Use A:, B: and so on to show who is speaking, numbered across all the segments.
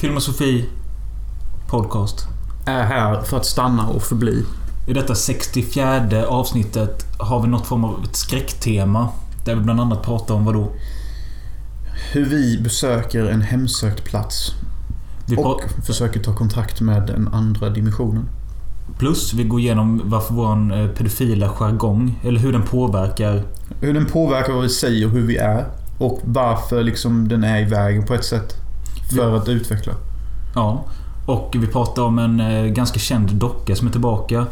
A: Filmosofi Podcast.
B: Är här för att stanna och förbli.
A: I detta 64 avsnittet har vi något form av ett skräcktema. Där vi bland annat pratar om vad då?
B: Hur vi besöker en hemsökt plats.
A: Vi
B: och
A: pra-
B: försöker ta kontakt med den andra dimensionen.
A: plus vi går igenom varför våran eh, pedofila jargong, eller hur den påverkar.
B: Hur den påverkar vad vi säger och hur vi är. Och varför liksom den är i vägen på ett sätt. För att utveckla.
A: Ja. Och vi pratar om en eh, ganska känd docka som är tillbaka.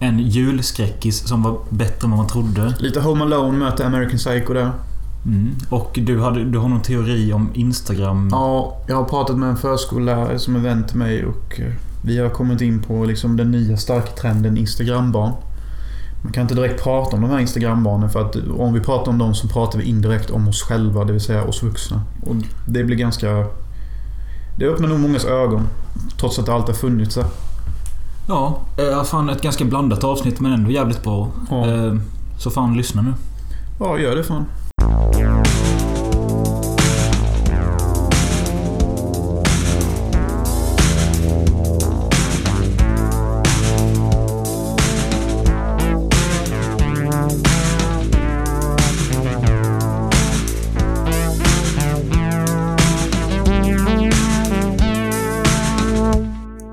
A: En julskräckis som var bättre än vad man trodde.
B: Lite Home Alone möter American Psycho där.
A: Mm. Och du, hade, du har någon teori om Instagram.
B: Ja, jag har pratat med en förskollärare som är vän till mig och eh, vi har kommit in på liksom den nya starka trenden Instagrambarn. Man kan inte direkt prata om de här Instagrambarnen för att om vi pratar om dem så pratar vi indirekt om oss själva, det vill säga oss vuxna. Och det blir ganska... Det öppnar nog mångas ögon. Trots att det alltid har funnits där.
A: Ja, eh, fan ett ganska blandat avsnitt men ändå jävligt bra.
B: Ja.
A: Eh, Så fan lyssna nu.
B: Ja, gör det fan.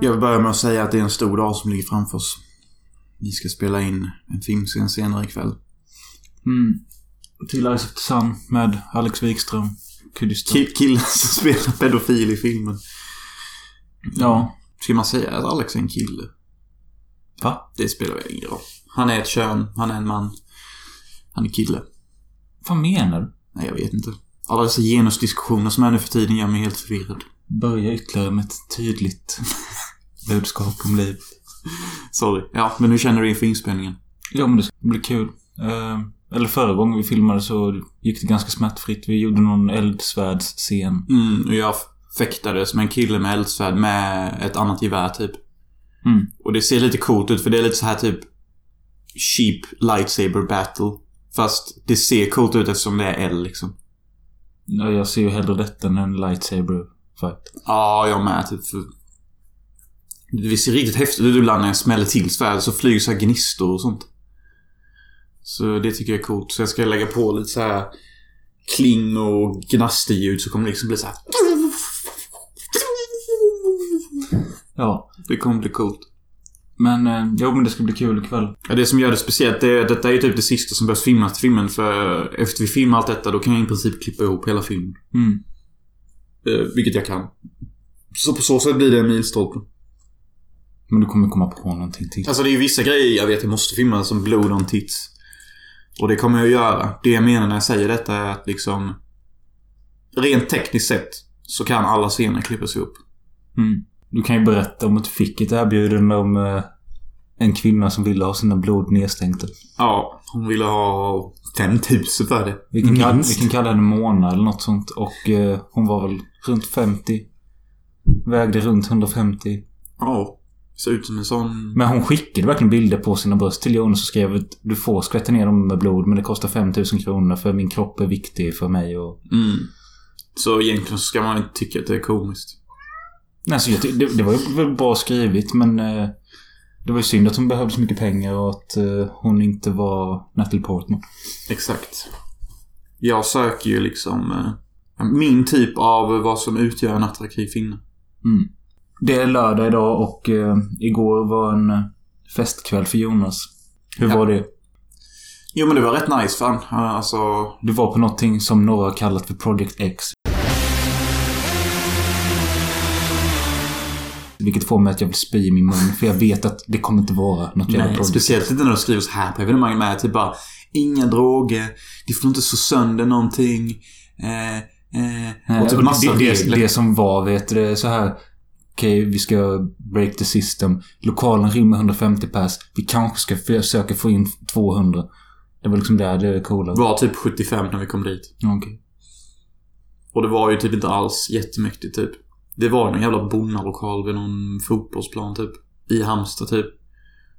B: Jag vill börja med att säga att det är en stor dag som ligger framför oss. Vi ska spela in en filmscen senare ikväll.
A: Mm. Till Ice of the Sun med Alex Wikström. Kuddistan.
B: Ki- Typ killen som spelar pedofil i filmen.
A: Ja.
B: Ska man säga att Alex är en kille?
A: Va?
B: Det spelar väl ingen roll. Han är ett kön, han är en man. Han är kille.
A: Vad menar du?
B: Nej, jag vet inte. Alla dessa genusdiskussioner som är nu för tiden gör mig helt förvirrad.
A: Börja ytterligare med ett tydligt budskap om liv.
B: Sorry. Ja, men nu känner du inför inspelningen?
A: Ja, men det ska bli kul. Eh, eller förra gången vi filmade så gick det ganska smärtfritt. Vi gjorde någon eldsvärdsscen.
C: Mm, och jag fäktade som en kille med eldsvärd med ett annat gevär typ.
A: Mm.
C: Och det ser lite coolt ut för det är lite så här typ cheap lightsaber battle. Fast det ser coolt ut eftersom det är eld liksom.
A: Ja, Jag ser ju hellre detta än en lightsaber fight.
C: Ja, jag med typ. För... Det ser riktigt häftigt ut ibland när jag smäller till svärd så flyger så här gnistor och sånt. Så det tycker jag är coolt. Så jag ska lägga på lite så här kling och gnasterljud så kommer det liksom bli så här.
A: Ja.
C: Det kommer bli coolt.
A: Men, eh, jo men det ska bli kul ikväll.
C: Ja, det som gör det speciellt det är att detta är ju typ det sista som behövs filmas till filmen. För efter vi filmar allt detta, då kan jag i princip klippa ihop hela filmen.
A: Mm.
C: Eh, vilket jag kan. Så på så sätt blir det en milstolpe.
A: Men du kommer komma på någonting till.
C: Alltså det är ju vissa grejer jag vet jag måste filma, som blod on tits. Och det kommer jag att göra. Det jag menar när jag säger detta är att liksom... Rent tekniskt sett så kan alla scener klippas ihop.
A: Mm. Du kan ju berätta om att du fick ett erbjudande om eh, en kvinna som ville ha sina blod nedstänkta.
C: Ja, hon ville ha 5000 för det.
A: Vi kan, kalla, vi
C: Mm. Minst.
A: kan kalla henne Mona eller något sånt. Och eh, hon var väl runt 50. Vägde runt 150.
C: Ja. Ser ut som en sån...
A: Men hon skickade verkligen bilder på sina bröst till Jonas och skrev att du får skvätta ner dem med blod men det kostar 5000 kronor för min kropp är viktig för mig och...
C: Mm. Så egentligen så ska man inte tycka att det är komiskt.
A: Nej, så jag, ty- det, det var ju väl bra skrivet men... Eh, det var ju synd att hon behövde så mycket pengar och att eh, hon inte var Natalie Portman.
C: Exakt. Jag söker ju liksom eh, min typ av vad som utgör en attraktiv kvinna.
A: Det är lördag idag och eh, igår var en eh, festkväll för Jonas. Hur
C: Ja.
A: var det?
C: Jo men det var rätt nice fan. Eh, Alltså,
A: Du var på någonting som några har kallat för Project X. Vilket får mig att jag vill spy i min mun, för jag vet att det kommer inte vara något jävla
C: nej,
A: Project
C: speciellt inte när de skriver så här på evenemang med typ bara Inga droger, ni får inte så sönder någonting. Eh, eh,
A: Nej,
C: och typ
A: och
C: massa
A: det, det,
C: regler.
A: det som var, vet du, det är så här. Okej, vi ska break the system. Lokalen rymmer 150 pers. Vi kanske ska försöka få in 200. Det var liksom där det coola.
C: var typ 75 när vi kom dit.
A: Ja, okej.
C: Och det var ju typ inte alls jättemäktigt typ. Det var någon jävla bonnalokal vid någon fotbollsplan typ. I Halmstad typ.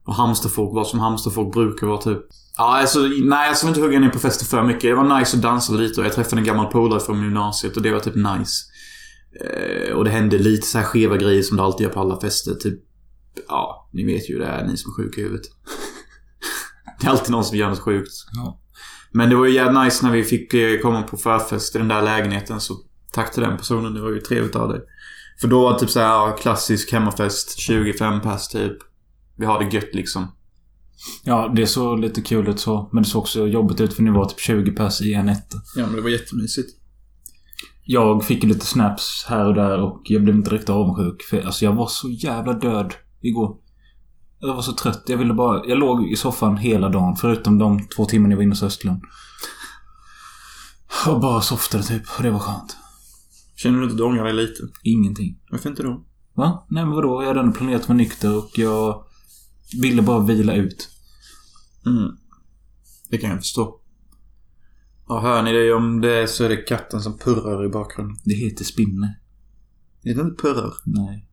C: Och Halmstadfolk var som Halmstadfolk brukar vara typ. Ja, alltså, nej, jag ska inte hugga ner på festen för mycket. Det var nice att dansa lite och jag träffade en gammal polare från gymnasiet och det var typ nice. Eh, och det hände lite så här skeva grejer som det alltid gör på alla fester. Typ, ja, ni vet ju hur det är, ni som är sjuka i huvudet. det är alltid någon som gör något sjukt.
A: Ja.
C: Men det var ju jävligt nice när vi fick eh, komma på förfest i den där lägenheten. Så tack till den personen, det var ju trevligt av dig. För då var det typ så här, ja, klassisk hemmafest, 25 pers typ. Vi har det gött liksom.
A: Ja, det såg lite kul ut så. Men det såg också jobbigt ut för ni var typ 20 pers i en etta.
B: Ja, men det var jättemysigt.
A: Jag fick ju lite snaps här och där och jag blev inte riktigt avundsjuk. För alltså jag var så jävla död igår. Jag var så trött. Jag ville bara... Jag låg i soffan hela dagen. Förutom de två timmarna jag var inne hos Östlund. Och bara softade typ. Och det var skönt.
B: Känner du inte att du ångrar dig lite?
A: Ingenting.
B: Varför inte då?
A: Va? Nej men vadå? Jag hade ändå planerat att vara nykter och jag ville bara vila ut.
C: Mm. Det kan jag förstå. Ja, hör ni det? Om det är så är det katten som purrar i bakgrunden.
A: Det heter spinne.
C: Det är inte purrar.
A: Nej.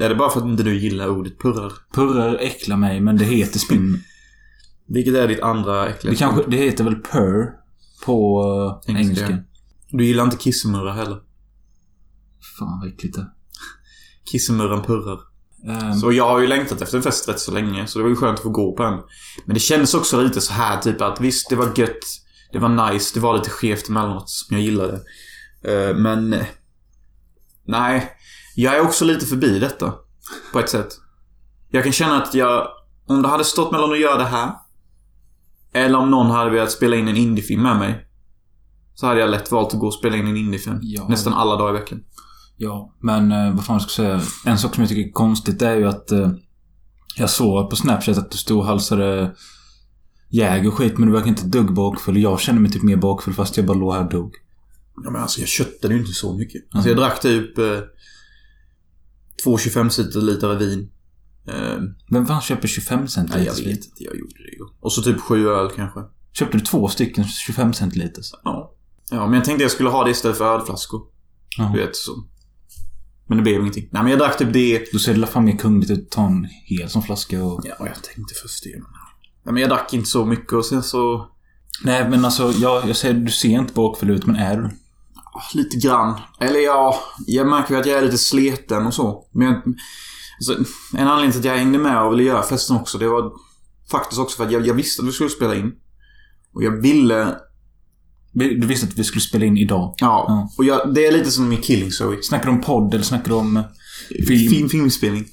C: Är det bara för att inte du gillar ordet purrar?
A: Purrar äcklar mig men det heter spinne.
C: Vilket är ditt andra
A: Det,
C: äckliga
A: kanske,
C: språk?
A: det heter väl purr på eh,
C: Engelska.
A: engelska.
C: Du gillar inte kissemurrar heller.
A: Fan vad äckligt det Eh,
C: Kissemurran purrar.
A: är.
C: Så jag har ju längtat efter en fest rätt så länge, så det var ju skönt att få gå på en. Men det kändes också lite så här typ att visst, det var gött. Det var nice, det var lite skevt emellanåt som jag gillade. Eh, Men... eh, Nej. Jag är också lite förbi detta. På ett sätt. Jag kan känna att jag... Om det hade stått mellan att göra det här. Eller om någon hade velat spela in en indiefilm med mig. Så hade jag lätt valt att gå och spela in en indiefilm.
A: Ja.
C: Nästan alla dagar i veckan.
A: Ja, men eh, vad fan jag ska jag säga? En sak som jag tycker är konstigt är ju att eh, jag såg på Snapchat att du stod och halsade jäger och skit men du verkar inte ett dugg bakfull. Jag känner mig typ mer bakfull fast jag bara låg här och dog.
C: Ja, men alltså jag köttade ju inte så mycket. Alltså jag drack typ eh, två 25 liter vin. Eh,
A: Vem fan köper 25
C: nej, jag
A: centiliters
C: vet
A: vin?
C: inte. Jag gjorde det igår. Och så typ sju öl kanske.
A: Köpte du två stycken 25 centiliters?
C: Ja. Ja, men jag tänkte jag skulle ha det istället för ölflaskor.
A: Ja.
C: Du vet, så. Men det blev ingenting. Nej, men jag drack typ det.
A: Då ser det i alla fall mer kungligt ut att ta en hel som flaska och...
C: Ja, och jag tänkte först det. men- Nej, men jag drack inte så mycket och sen så...
A: Nej men alltså, jag, jag säger du ser inte bakfull ut men är du?
C: ah, Lite grann. Eller ja, jag märker ju att jag är lite sleten och så. Men jag, alltså, en anledning till att jag hängde med och ville göra festen också, det var faktiskt också för att jag, jag visste att vi skulle spela in. Och jag ville...
A: Vi- Du visste att vi skulle spela in idag.
C: Ja.
A: Ja.
C: Och jag, det är lite som i Killing Zoe.
A: Snackar du om podd eller snackar du om... eh, Film.
C: Film. filminspelning.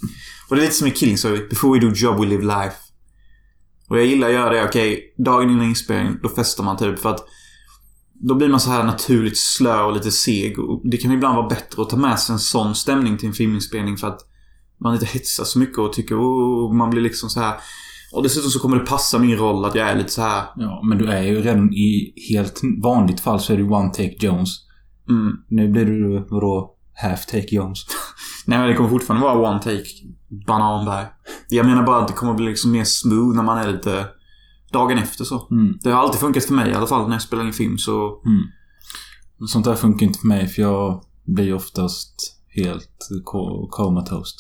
C: Och det är lite som i Killing Zoe. Before we do job, we live life. Och jag gillar att göra det. Okej, dagen innan inspelning, då festar man typ för att då blir man så här naturligt slö och lite seg. Och det kan ibland vara bättre att ta med sig en sån stämning till en filminspelning för att man inte hetsar så mycket och tycker oh, man blir liksom så här. Och dessutom så kommer det passa min roll att jag är lite så här.
A: Ja, men du är ju redan i helt vanligt fall så är du one take Jones.
C: Mm.
A: Nu blir du, vadå, half take Jones.
C: Nej men det kommer fortfarande vara one take bananbär. Jag menar bara att det kommer bli liksom mer smooth när man är lite dagen efter så.
A: Mm.
C: Det har alltid funkat för mig i alla fall när jag spelar in film så...
A: Sånt där funkar inte för mig för jag blir oftast helt ko- comatose.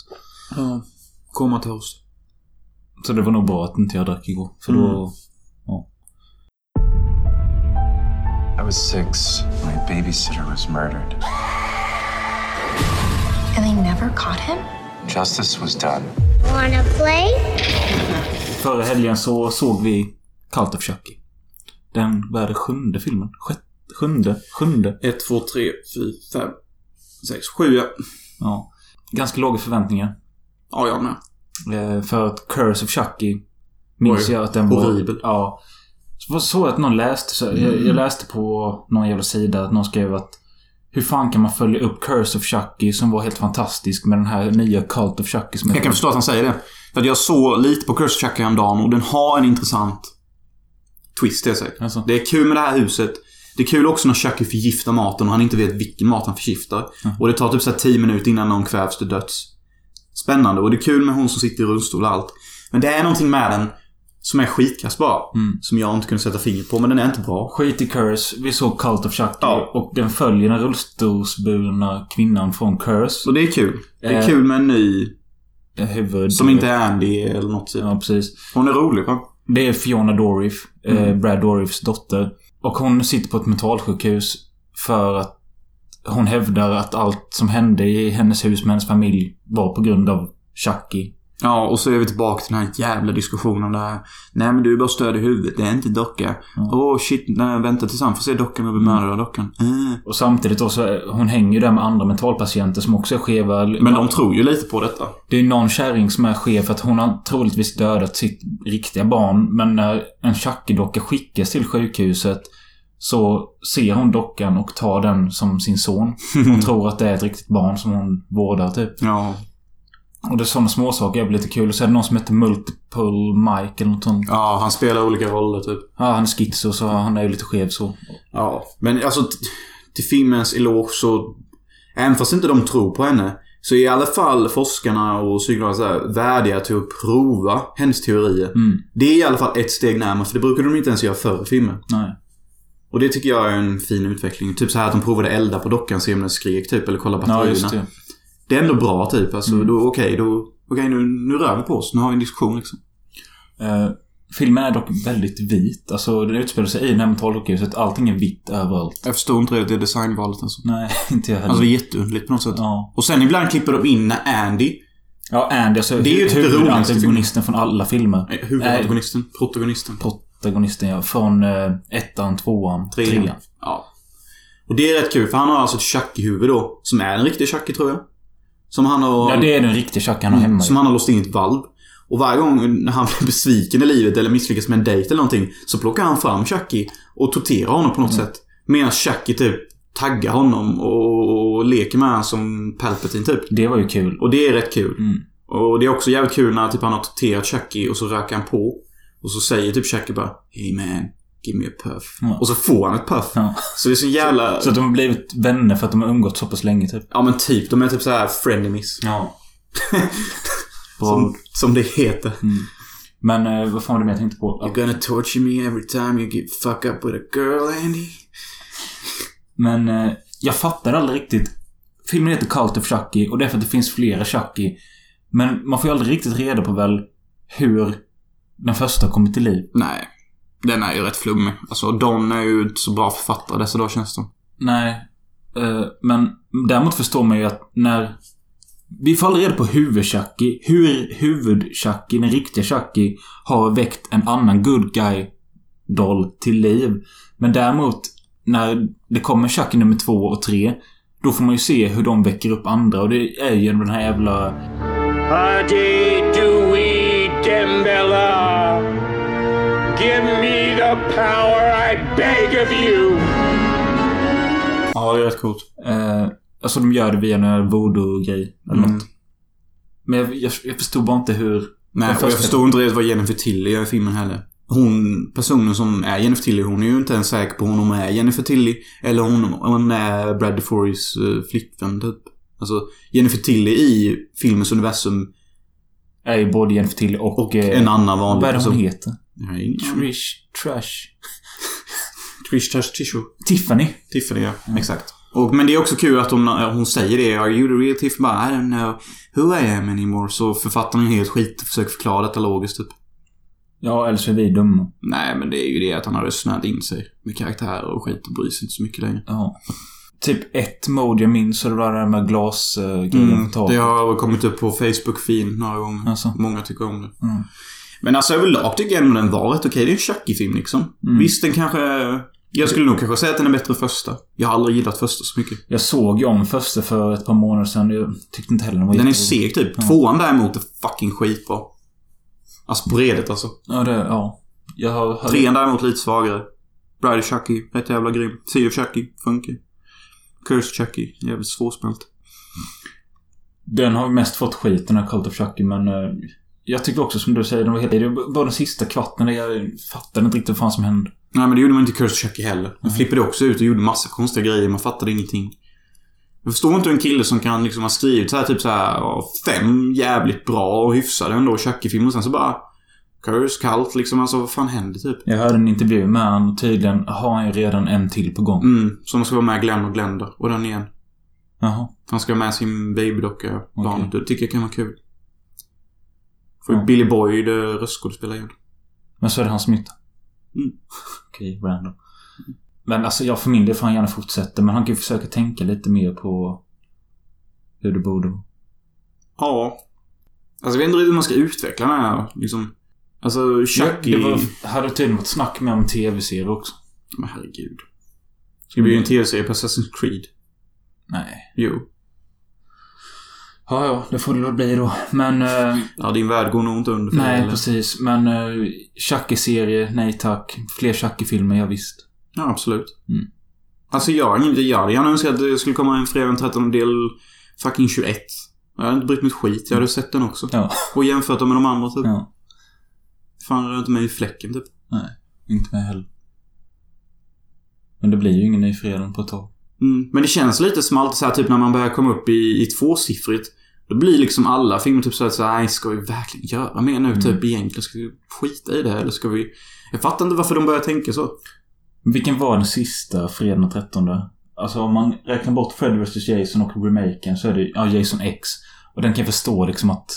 C: Ja. Comatose.
A: Så det var nog bra att inte jag drack igår. För då...
D: I was six. My babysitter was murdered.
E: And they never caught him?
D: Justice was done.
F: Wanna play?
A: Förra helgen så såg vi Cult of Chucky. Den, vad är det, sjunde filmen? Sjätte? Sjunde? Sjunde?
C: 1, 2, 3, 4, 5, 6, 7 ja.
A: Ja. Ganska låga förväntningar.
C: Ja, jag med.
A: Eh, För att Curse of Chucky minns
C: Oj,
A: jag att den var...
C: horribel. Mm.
A: Ja. Så var så att någon läste, så jag, jag läste på någon jävla sida att någon skrev att hur fan kan man följa upp Curse of Chucky som var helt fantastisk med den här nya Cult of Chucky som
C: Jag kan förstå att han säger det. För att jag såg lite på Curse Chucky häromdagen och den har en intressant twist, det är säkert.
A: Alltså.
C: Det är kul med det här huset. Det är kul också när Chucky förgiftar maten och han inte vet vilken mat han förgiftar. Och det tar typ så här 10 minuter innan någon kvävs till döds. Spännande och det är kul med hon som sitter i rullstol och allt. Men det är någonting med den som är skitkass bara. Som jag inte kunde sätta fingret på, men den är inte bra.
A: Skit i Curse. Vi såg Cult of Chucky
C: Ja.
A: och den följer den rullstolsburna kvinnan från Curse.
C: Så det är kul. Det är
A: Eh.
C: kul med en ny
A: Eh, Huvud...
C: som inte är Andy eller något typ.
A: Ja, precis.
C: Hon är rolig va?
A: Det är Fiona Dorif, eh, Brad Dorifs dotter. Och hon sitter på ett mentalsjukhus för att hon hävdar att allt som hände i hennes hus med hennes familj var på grund av Chucky.
C: Ja, och så är vi tillbaka till den här jävla diskussionen om det här. Nej, men du är bara störd i huvudet. Det är inte docka. Åh, oh, shit. Nej, vänta tills han får se dockan och bemöda dockan. Eh.
A: Och samtidigt då så, hon hänger ju där med andra mentalpatienter som också är skeva.
C: Men de tror ju lite på detta.
A: Det är någon kärring som är skev för att hon har troligtvis dödat sitt riktiga barn. Men när en Chucky-docka skickas till sjukhuset så ser hon dockan och tar den som sin son. Hon tror att det är ett riktigt barn som hon vårdar typ.
C: Ja.
A: Och det är sådana småsaker. Det blir lite kul. Och så är det någon som heter Multiple Mike eller något sånt.
C: Ja, han spelar olika roller typ.
A: Ja, han är schizo så han är ju lite skev så.
C: Ja, men alltså t- till filmens eloge så... Även fast inte de tror på henne så är i alla fall forskarna och psykologerna så här värdiga till att prova hennes teorier.
A: Mm.
C: Det är i alla fall ett steg närmare för det brukade de inte ens göra förr i filmen.
A: Nej.
C: Och det tycker jag är en fin utveckling. Typ så här att de provade elda på dockan, se om den skrek typ eller kolla
A: Ja,
C: batterierna.
A: just det.
C: Det är ändå bra typ. Alltså, då, okej, då, okej nu, nu rör vi på oss. Nu har vi en diskussion liksom.
A: Eh, filmen är dock väldigt vit. Alltså, den utspelar sig i det här mentalsjukhuset. Allting är vitt överallt.
C: Jag förstår inte det, det designvalet alltså.
A: Nej, inte jag heller.
C: Alltså det är jätteunderligt på något sätt.
A: ja.
C: Och sen ibland klipper de in när Andy,
A: ja, Andy. Alltså,
C: Det är ju ett roligt
A: Huvudantagonisten från alla filmer.
C: eh, huvudantagonisten, protagonisten.
A: Protagonisten, ja. Från eh, ettan, tvåan,
C: Trean.
A: trean.
C: Ja. Och det är rätt kul för han har alltså ett Chucky-huvud då. Som är en riktig Chucky tror jag. Som han har...
A: Ja, det är den riktiga Chuck han har hemma.
C: Som han har låst in i ett valv. Och varje gång när han blir besviken i livet eller misslyckas med en dejt eller någonting så plockar han fram Chucky och torterar honom på något
A: Mm.
C: sätt. Medan Chucky typ taggar honom och, och leker med honom som Palpatine typ.
A: Det var ju kul.
C: Och det är rätt kul.
A: Mm.
C: Och det är också jävligt kul när typ, han har torterat Chucky och så röker han på. Och så säger typ Chucky bara Hey man, give me a puff.
A: Ja.
C: Och så får han ett puff.
A: Ja.
C: Så det är så jävla...
A: Så att de har blivit vänner för att de har umgåtts så pass länge, typ.
C: Ja men typ, de är typ så här frenemies.
A: Ja. Bra
C: Som, som det heter.
A: Mm. Men eh, vad fan var det mer jag tänkte på?
C: You're gonna torture me every time you get fuck up with a girl, Andy.
A: Men eh, jag fattar aldrig riktigt. Filmen heter Cult of Chucky och det är för att det finns flera Chucky. Men man får ju aldrig riktigt reda på väl hur den första har kommit till liv.
C: Nej. Den är ju rätt flummig. Alltså, Don är ju inte så bra författare dessa dagar känns det som.
A: Nej. Eh, men däremot förstår man ju att när... Vi får aldrig reda på huvud-Chucky. Hur huvud-Chucky, den riktiga Chucky, har väckt en annan good guy-doll till liv. Men däremot, när det kommer Chucky nummer två och tre, då får man ju se hur de väcker upp andra. Och det är ju genom den här jävla...
F: Huddy Dewey Dembella. Give me the power, I beg of you.
C: Ja, det är rätt coolt.
A: Eh, alltså de gör det via en voodoo-grej. Eller
C: Mm.
A: något. Men jag, jag, jag förstod bara inte hur...
C: Nej,
A: den
C: och jag
A: första-
C: förstår inte riktigt vad Jennifer Tilly gör i filmen heller. Hon, personen som är Jennifer Tilly, hon är ju inte ens säker på om hon är Jennifer Tilly eller hon, om hon är Bradley Forys eh, flickvän typ. Alltså, Jennifer Tilly i filmens universum
A: Är ju både Jennifer Tilly och... eh,
C: och en annan vanlig
A: Vad är det hon
C: person.
A: heter?
C: Nej,
A: Alltså- Trish... Trash...
C: Trish Tash Tisho.
A: Tiffany.
C: Tiffany, ja.
A: Mm.
C: Exakt. Och, men det är också kul att hon, eh, hon säger det. Are you the real Tiff? Bara, I don't know who I am anymore. Så författaren är helt skit och försöker förklara detta logiskt, typ.
A: Ja, eller så är vi dumma.
C: Nej, men det är ju det att han hade snöat in sig med karaktärer och skit och bryr sig inte så mycket längre.
A: Ja. Typ ett mode jag minns, så det var det där med glasgrejen
C: Mm,
A: på taket.
C: det har kommit upp på Facebook-fin några gånger.
A: Alltså.
C: Många tycker om det.
A: Mm.
C: Men alltså överlag tycker jag ändå den var rätt okej. Det är en Chucky-film liksom.
A: Mm.
C: Visst, den kanske... Jag skulle nog kanske säga att den är bättre än första. Jag har aldrig gillat första så mycket.
A: Jag såg ju om första för ett par månader sedan. Jag tyckte inte heller den var
C: Den är
A: jätterolig.
C: seg typ. Tvåan däremot är fucking skitbra. Alltså på redet alltså.
A: Ja, det... Ja. Jag har... hört-
C: Trean däremot lite svagare. Bride of Chucky, rätt jävla grym. Sea of Chucky, funky. Curse Chucky, jävligt svårsmält.
A: Den har ju mest fått skit, den här Cult of Chucky, men... eh, jag tyckte också som du säger, den var helt... Det var den sista kvarten där jag fattade inte riktigt vad fan som hände.
C: Nej men det gjorde man inte i Curse Chucky heller. Den flippade också ut och gjorde massa konstiga grejer, man fattade ingenting. Jag förstår inte hur en kille som kan liksom ha skrivit så här typ så här ja, fem jävligt bra och hyfsade ändå Chucky-filmer och sen så bara... Curse, Cult liksom, alltså vad fan händer typ?
A: Jag hörde en intervju med han och tydligen har han ju redan en till på gång.
C: Mm, som ska vara med Glenn och Glenda. Och den igen.
A: Jaha.
C: Han ska ha med sin babydocka, barnet. Det tycker jag kan vara kul. Får ju
A: Ja.
C: Billy Boyd eh, röstskådespelare igen.
A: Men så är det hans mytta.
C: Mm.
A: Okej, random. Men alltså jag för min del får han gärna fortsätta. Men han kan ju försöka tänka lite mer på hur det borde vara.
C: Ja. Alltså jag vet inte riktigt hur man ska utveckla den här liksom. Alltså Chucky...
A: Det var, hade tydligen varit snack med om tv-serier också.
C: Men herregud. Ska det bli en
A: Mm.
C: tv-serie på Assassin's Creed?
A: Nej.
C: Jo.
A: Ja, ja. Det får det väl bli då. Men... Eh,
C: Ja, din värld går nog inte under för det,
A: nej,
C: eller?
A: precis. Men eh, Chucky-serie, nej tack. Fler Chucky-filmer, ja, visst.
C: Ja, absolut.
A: Mm.
C: Alltså jag har inget... Jag hade gärna önskat att det skulle komma en fredag den 13 del fucking 21. Jag hade inte brytt mig ett skit. Jag hade sett den också.
A: Mm. Ja.
C: Och jämfört den med de andra typ.
A: ja.
C: Fan, rör inte mig i fläcken typ.
A: Inte mig heller. Men det blir ju ingen ny fredag på ett tag.
C: Mm. Men det känns lite som alltid så här, typ när man börjar komma upp i, i tvåsiffrigt. Då blir liksom alla filmer typ så här, så här "Nej, ska vi verkligen göra mer
A: Mm.
C: nu? Typ egentligen, ska vi skita i det här, eller ska vi... Jag fattar inte varför de börjar tänka så.
A: Vilken var den sista fredagen den 13? Alltså om man räknar bort Fred vs Jason och remaken så är det ja, Jason X. Och den kan jag förstå liksom att...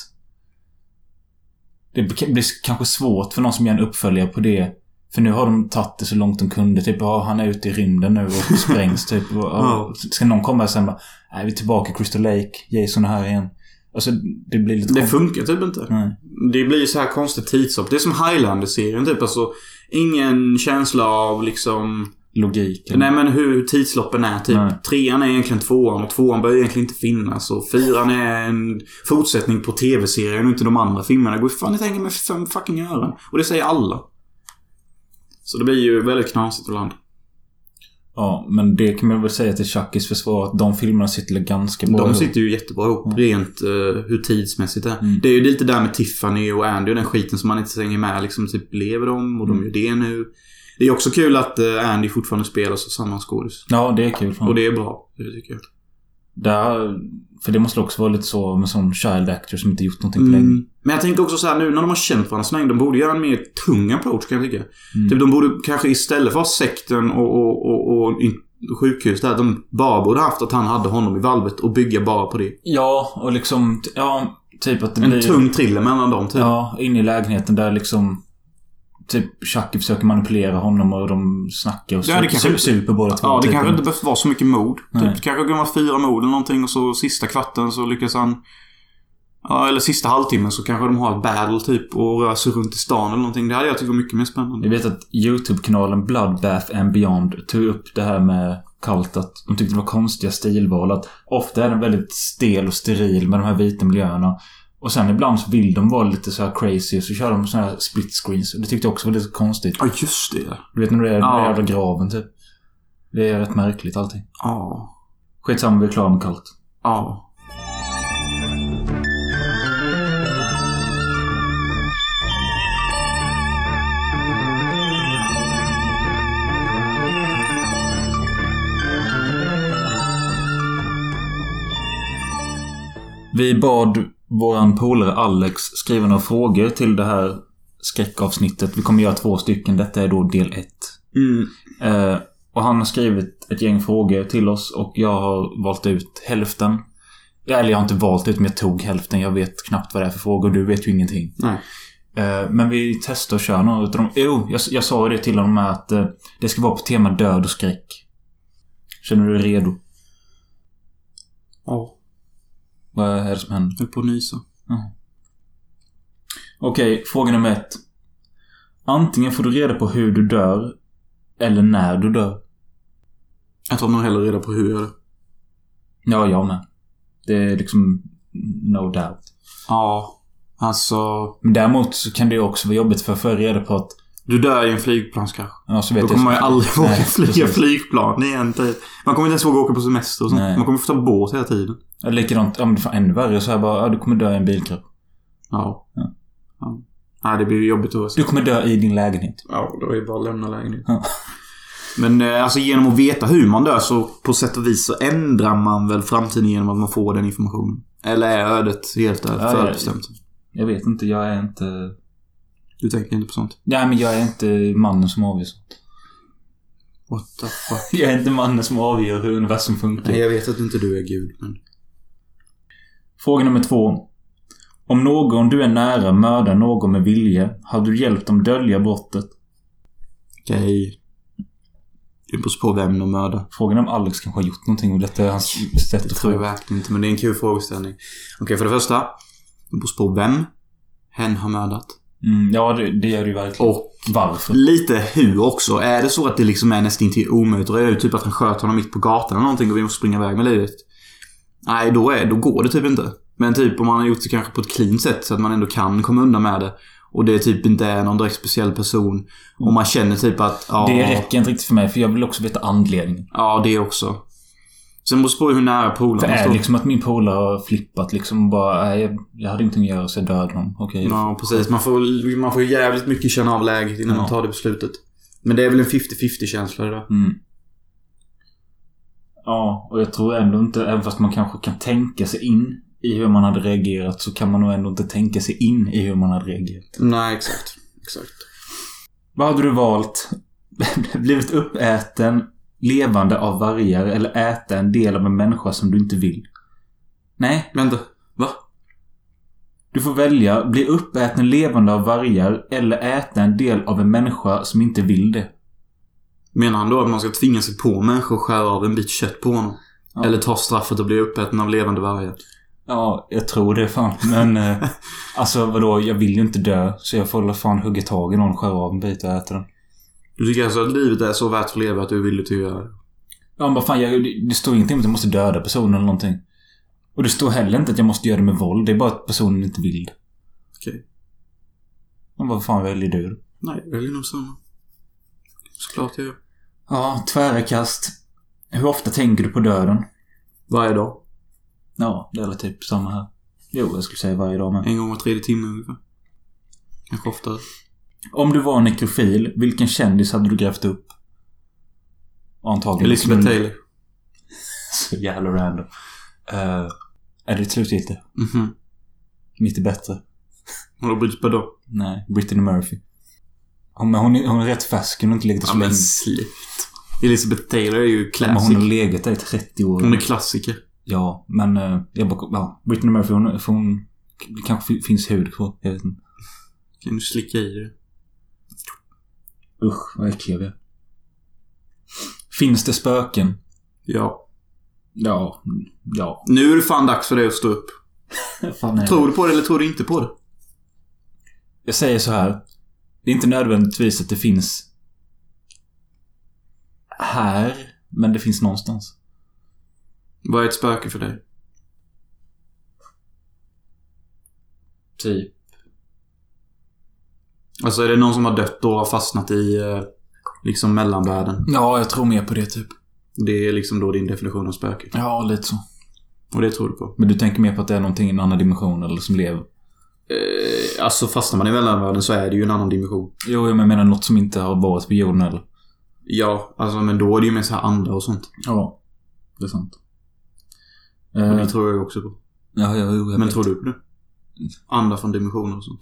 A: Det blir blir kanske svårt för någon som gör en uppföljare på det. För nu har de tagit det så långt de kunde. Typ, ja, han är ute i rymden nu och sprängs typ. Och, ja, ska någon komma sen bara, nej, vi är tillbaka i Crystal Lake. Jason är här igen. Alltså, det blir lite
C: Det
A: konstigt.
C: funkar typ inte.
A: Nej.
C: Det blir ju så här konstigt tidshopp. Det är som Highlander-serien typ. Alltså, ingen känsla av liksom...
A: Logiken.
C: Nej men hur tidsloppen är typ.
A: Nej.
C: Trean är egentligen tvåan och tvåan bör egentligen inte finnas. Och fyran är en fortsättning på tv-serien och inte de andra filmerna. Det går ju fan inte att hänga med för fem fucking öron. Och det säger alla. Så det blir ju väldigt knasigt ibland.
A: Ja, men det kan man väl säga till Chuckys försvar att de filmerna sitter väl ganska bra
C: De
A: ihop.
C: sitter ju jättebra ihop rent eh, hur tidsmässigt det är.
A: Mm.
C: Det är ju lite där med Tiffany och Andy och den skiten som man inte hänger med liksom. Typ lever de och
A: Mm.
C: de gör det nu. Det är också kul att eh, Andy fortfarande spelas av samma skådis.
A: Ja, det är kul. Fan.
C: Och det är bra. Det tycker jag.
A: Där, för det måste också vara lite så med sån child actor som inte gjort någonting på länge.
C: Mm. Men jag tänker också så här nu när de har känt varandra så länge. De borde göra en mer tung approach kan jag tycka.
A: Mm.
C: Typ de borde kanske istället för att ha sekten och, och, och, och in- sjukhus där. De bara borde haft att han hade honom i valvet och bygga bara på det.
A: Ja, och liksom... t- Ja, typ att det
C: En
A: blir...
C: tung thriller mellan dem typ.
A: Ja, inne i lägenheten där liksom... Typ Chucky försöker manipulera honom och de snackar och
C: Ja, det
A: super,
C: kanske-
A: super båda två.
C: Ja, det
A: typ.
C: kanske inte behövt vara så mycket mod. Typ,
A: Nej.
C: det kanske kan vara fyra mod eller någonting och så sista kvarten så lyckas han... Ja, eller sista halvtimmen så kanske de har ett battle typ och rör sig runt i stan eller någonting. Det hade jag tyckt var mycket mer spännande.
A: Jag vet att YouTube-kanalen Bloodbath and Beyond tog upp det här med Cult att de tyckte det var konstiga stilval. Att ofta är den väldigt stel och steril med de här vita miljöerna. Och sen ibland så vill de vara lite så här crazy och så kör de såna här split screens. Och det tyckte jag också var lite konstigt.
C: Ja, just det.
A: Du vet när du är i
C: Ja.
A: den jävla graven typ. Det är rätt märkligt allting.
C: Ja.
A: Skitsamma, vi är klara med Cult.
C: Ja.
A: Vi bad våran polare Alex skriva några frågor till det här skräckavsnittet. Vi kommer göra två stycken. Detta är då del ett.
C: Mm.
A: Eh, och han har skrivit ett gäng frågor till oss och jag har valt ut hälften. Eller jag har inte valt ut, men jag tog hälften. Jag vet knappt vad det är för frågor. Du vet ju ingenting.
C: Nej.
A: Eh, men vi testar och kör några utav dem. Jo, jag, jag sa ju det till honom med att eh, det ska vara på tema död och skräck. Känner du dig redo?
C: Ja.
A: Vad är det som händer?
C: Jag höll på att nysa.
A: Okej, fråga nummer ett. Antingen får du reda på hur du dör, eller när du dör.
C: Jag tar nog hellre reda på hur jag gör det.
A: Ja, jag med. Det är liksom no doubt.
C: Ja. Alltså...
A: Men däremot så kan det ju också vara jobbigt för att få reda på att...
C: Du dör i en flygplanskrock.
A: Ja, så vet
C: Då
A: jag-
C: kommer man ju aldrig våga
A: Nej,
C: flyga
A: precis.
C: flygplan igen. typ. Man kommer inte ens våga åka på semester och sånt.
A: Nej.
C: Man kommer få ta båt hela tiden.
A: Ja, Likadant, ja men fan, ännu värre så här bara, ja, du kommer dö i en bilkrock.
C: Ja.
A: Ja.
C: ja. Nej, det blir ju jobbigt att
A: Du kommer dö i din lägenhet.
C: Ja, då är det bara att lämna lägenheten.
A: Ja.
C: Men eh, alltså genom att veta hur man dör så på sätt och vis så ändrar man väl framtiden genom att man får den informationen. Eller är ödet helt där
A: Ja, ja,
C: förutbestämt?
A: Jag vet inte, jag är inte...
C: Du tänker inte på sånt?
A: Nej men jag är inte mannen som avgör sånt.
C: What the fuck?
A: Jag är inte mannen som avgör hur universum funkar.
C: Nej, jag vet att inte du är gud, men...
A: Fråga nummer två. Om någon du är nära mördar någon med vilje, hade du hjälpt dem dölja brottet?
C: Okej. Det beror på vem de mördar.
A: Frågan är om Alex kanske har gjort någonting och detta är hans sätt
C: Det
A: att
C: tror jag
A: fråga.
C: verkligen inte, men det är en kul frågeställning. Okej, för det första. Det beror på vem hen har mördat.
A: Mm, ja, det, det gör det ju verkligen.
C: Och
A: varför?
C: lite hur också. Är det så att det liksom är nästan till omöjligt att reda ut, typ att han sköt honom mitt på gatan eller någonting och vi måste springa iväg med livet. Nej, då, är, då går det typ inte. Men typ om man har gjort det kanske på ett clean sätt så att man ändå kan komma undan med det. Och det typ inte är någon direkt speciell person. Och man känner typ att... Ja,
A: Det räcker inte riktigt för mig, för jag vill också veta anledningen.
C: Ja, det också. Sen beror det på hur nära
A: För
C: polaren
A: är
C: står.
A: det liksom att min polare har flippat liksom och bara, nej, jag, jag hade ingenting att göra så jag dödade honom. Okej.
C: Ja, precis. Man får, man får jävligt mycket känna av läget innan man
A: Ja.
C: tar det beslutet. Men det är väl en 50-50 känsla det där.
A: Mm. Ja, och jag tror ändå inte, även fast man kanske kan tänka sig in i hur man hade reagerat, så kan man nog ändå inte tänka sig in i hur man hade reagerat.
C: Nej, exakt. Exakt.
A: Vad hade du valt? Blivit uppäten, levande av vargar eller äta en del av en människa som du inte vill? Nej,
C: Vänta. Va?
A: du får välja. Bli uppäten levande av vargar eller äta en del av en människa som inte vill det.
C: Menar han då att man ska tvinga sig på människor och skära av en bit kött på honom?
A: Ja.
C: Eller ta straffet och bli uppäten av levande vargar?
A: Ja, jag tror det fan. Men eh, alltså vadå, jag vill ju inte dö. Så jag får väl fan hugga tag i någon, skära av en bit och äta den.
C: Du tycker alltså att livet är så värt att leva att du vill till att göra det?
A: Ja, men vad fan, jag, det, det står ingenting om att jag måste döda personen eller någonting. Och det står heller inte att jag måste göra det med våld. Det är bara att personen inte vill det.
C: Okej.
A: Men vad fan väljer du då?
C: Nej, jag väljer nog samma. Såklart jag gör.
A: Ja, tvära kast. Hur ofta tänker du på döden?
C: Varje dag.
A: Ja, det är väl typ samma här. Jo, jag skulle säga varje dag men.
C: En gång var tredje timme ungefär. Kanske oftare.
A: Om du var nekrofil, vilken kändis hade du grävt upp? Antagligen.
C: Elizabeth Taylor.
A: Så jävla random. Eh, är det slutgiltigt?
C: Mhm.
A: Mitt är bättre.
C: Har du brytt på då?
A: Nej, Brittany Murphy. Hon, men hon, är, hon är rätt färsk, hon har inte legat så
C: Ja, men
A: länge.
C: slut. Elizabeth Taylor är ju
A: Men hon har
C: classic.
A: legat där i 30 år.
C: Hon är klassiker.
A: Ja, men eh, jag bara, ja, Brittany Murphy, hon, för hon det kanske fi- finns hud kvar. Jag vet inte.
C: Kan du slicka i det?
A: Usch, vad äckliga vi är. Finns det spöken?
C: Ja.
A: Ja, ja.
C: Nu är det fan dags för dig att stå upp.
A: Fan, nej.
C: Tror du på det eller tror du inte på det?
A: Jag säger så här. Det är inte nödvändigtvis att det finns här, men det finns någonstans.
C: Vad är ett spöke för dig?
A: Typ.
C: Alltså är det någon som har dött och har fastnat i eh, liksom mellanvärlden?
A: Ja, jag tror mer på det typ.
C: Det är liksom då din definition av spöke.
A: Ja, lite så.
C: Och det tror du på?
A: Men du tänker mer på att det är någonting i en annan dimension eller som lever?
C: Eh, alltså fastnar man i mellanvärlden så är det ju en annan dimension.
A: Jo, jag menar något som inte har varit på jorden eller?
C: Ja, alltså men då är det ju mer så här andra och sånt.
A: Ja. Det är sant.
C: Och
A: Eh,
C: det tror jag ju också på.
A: ja, ja, jo, jag
C: Men
A: vet.
C: tror du på det? Andra från dimensioner och sånt.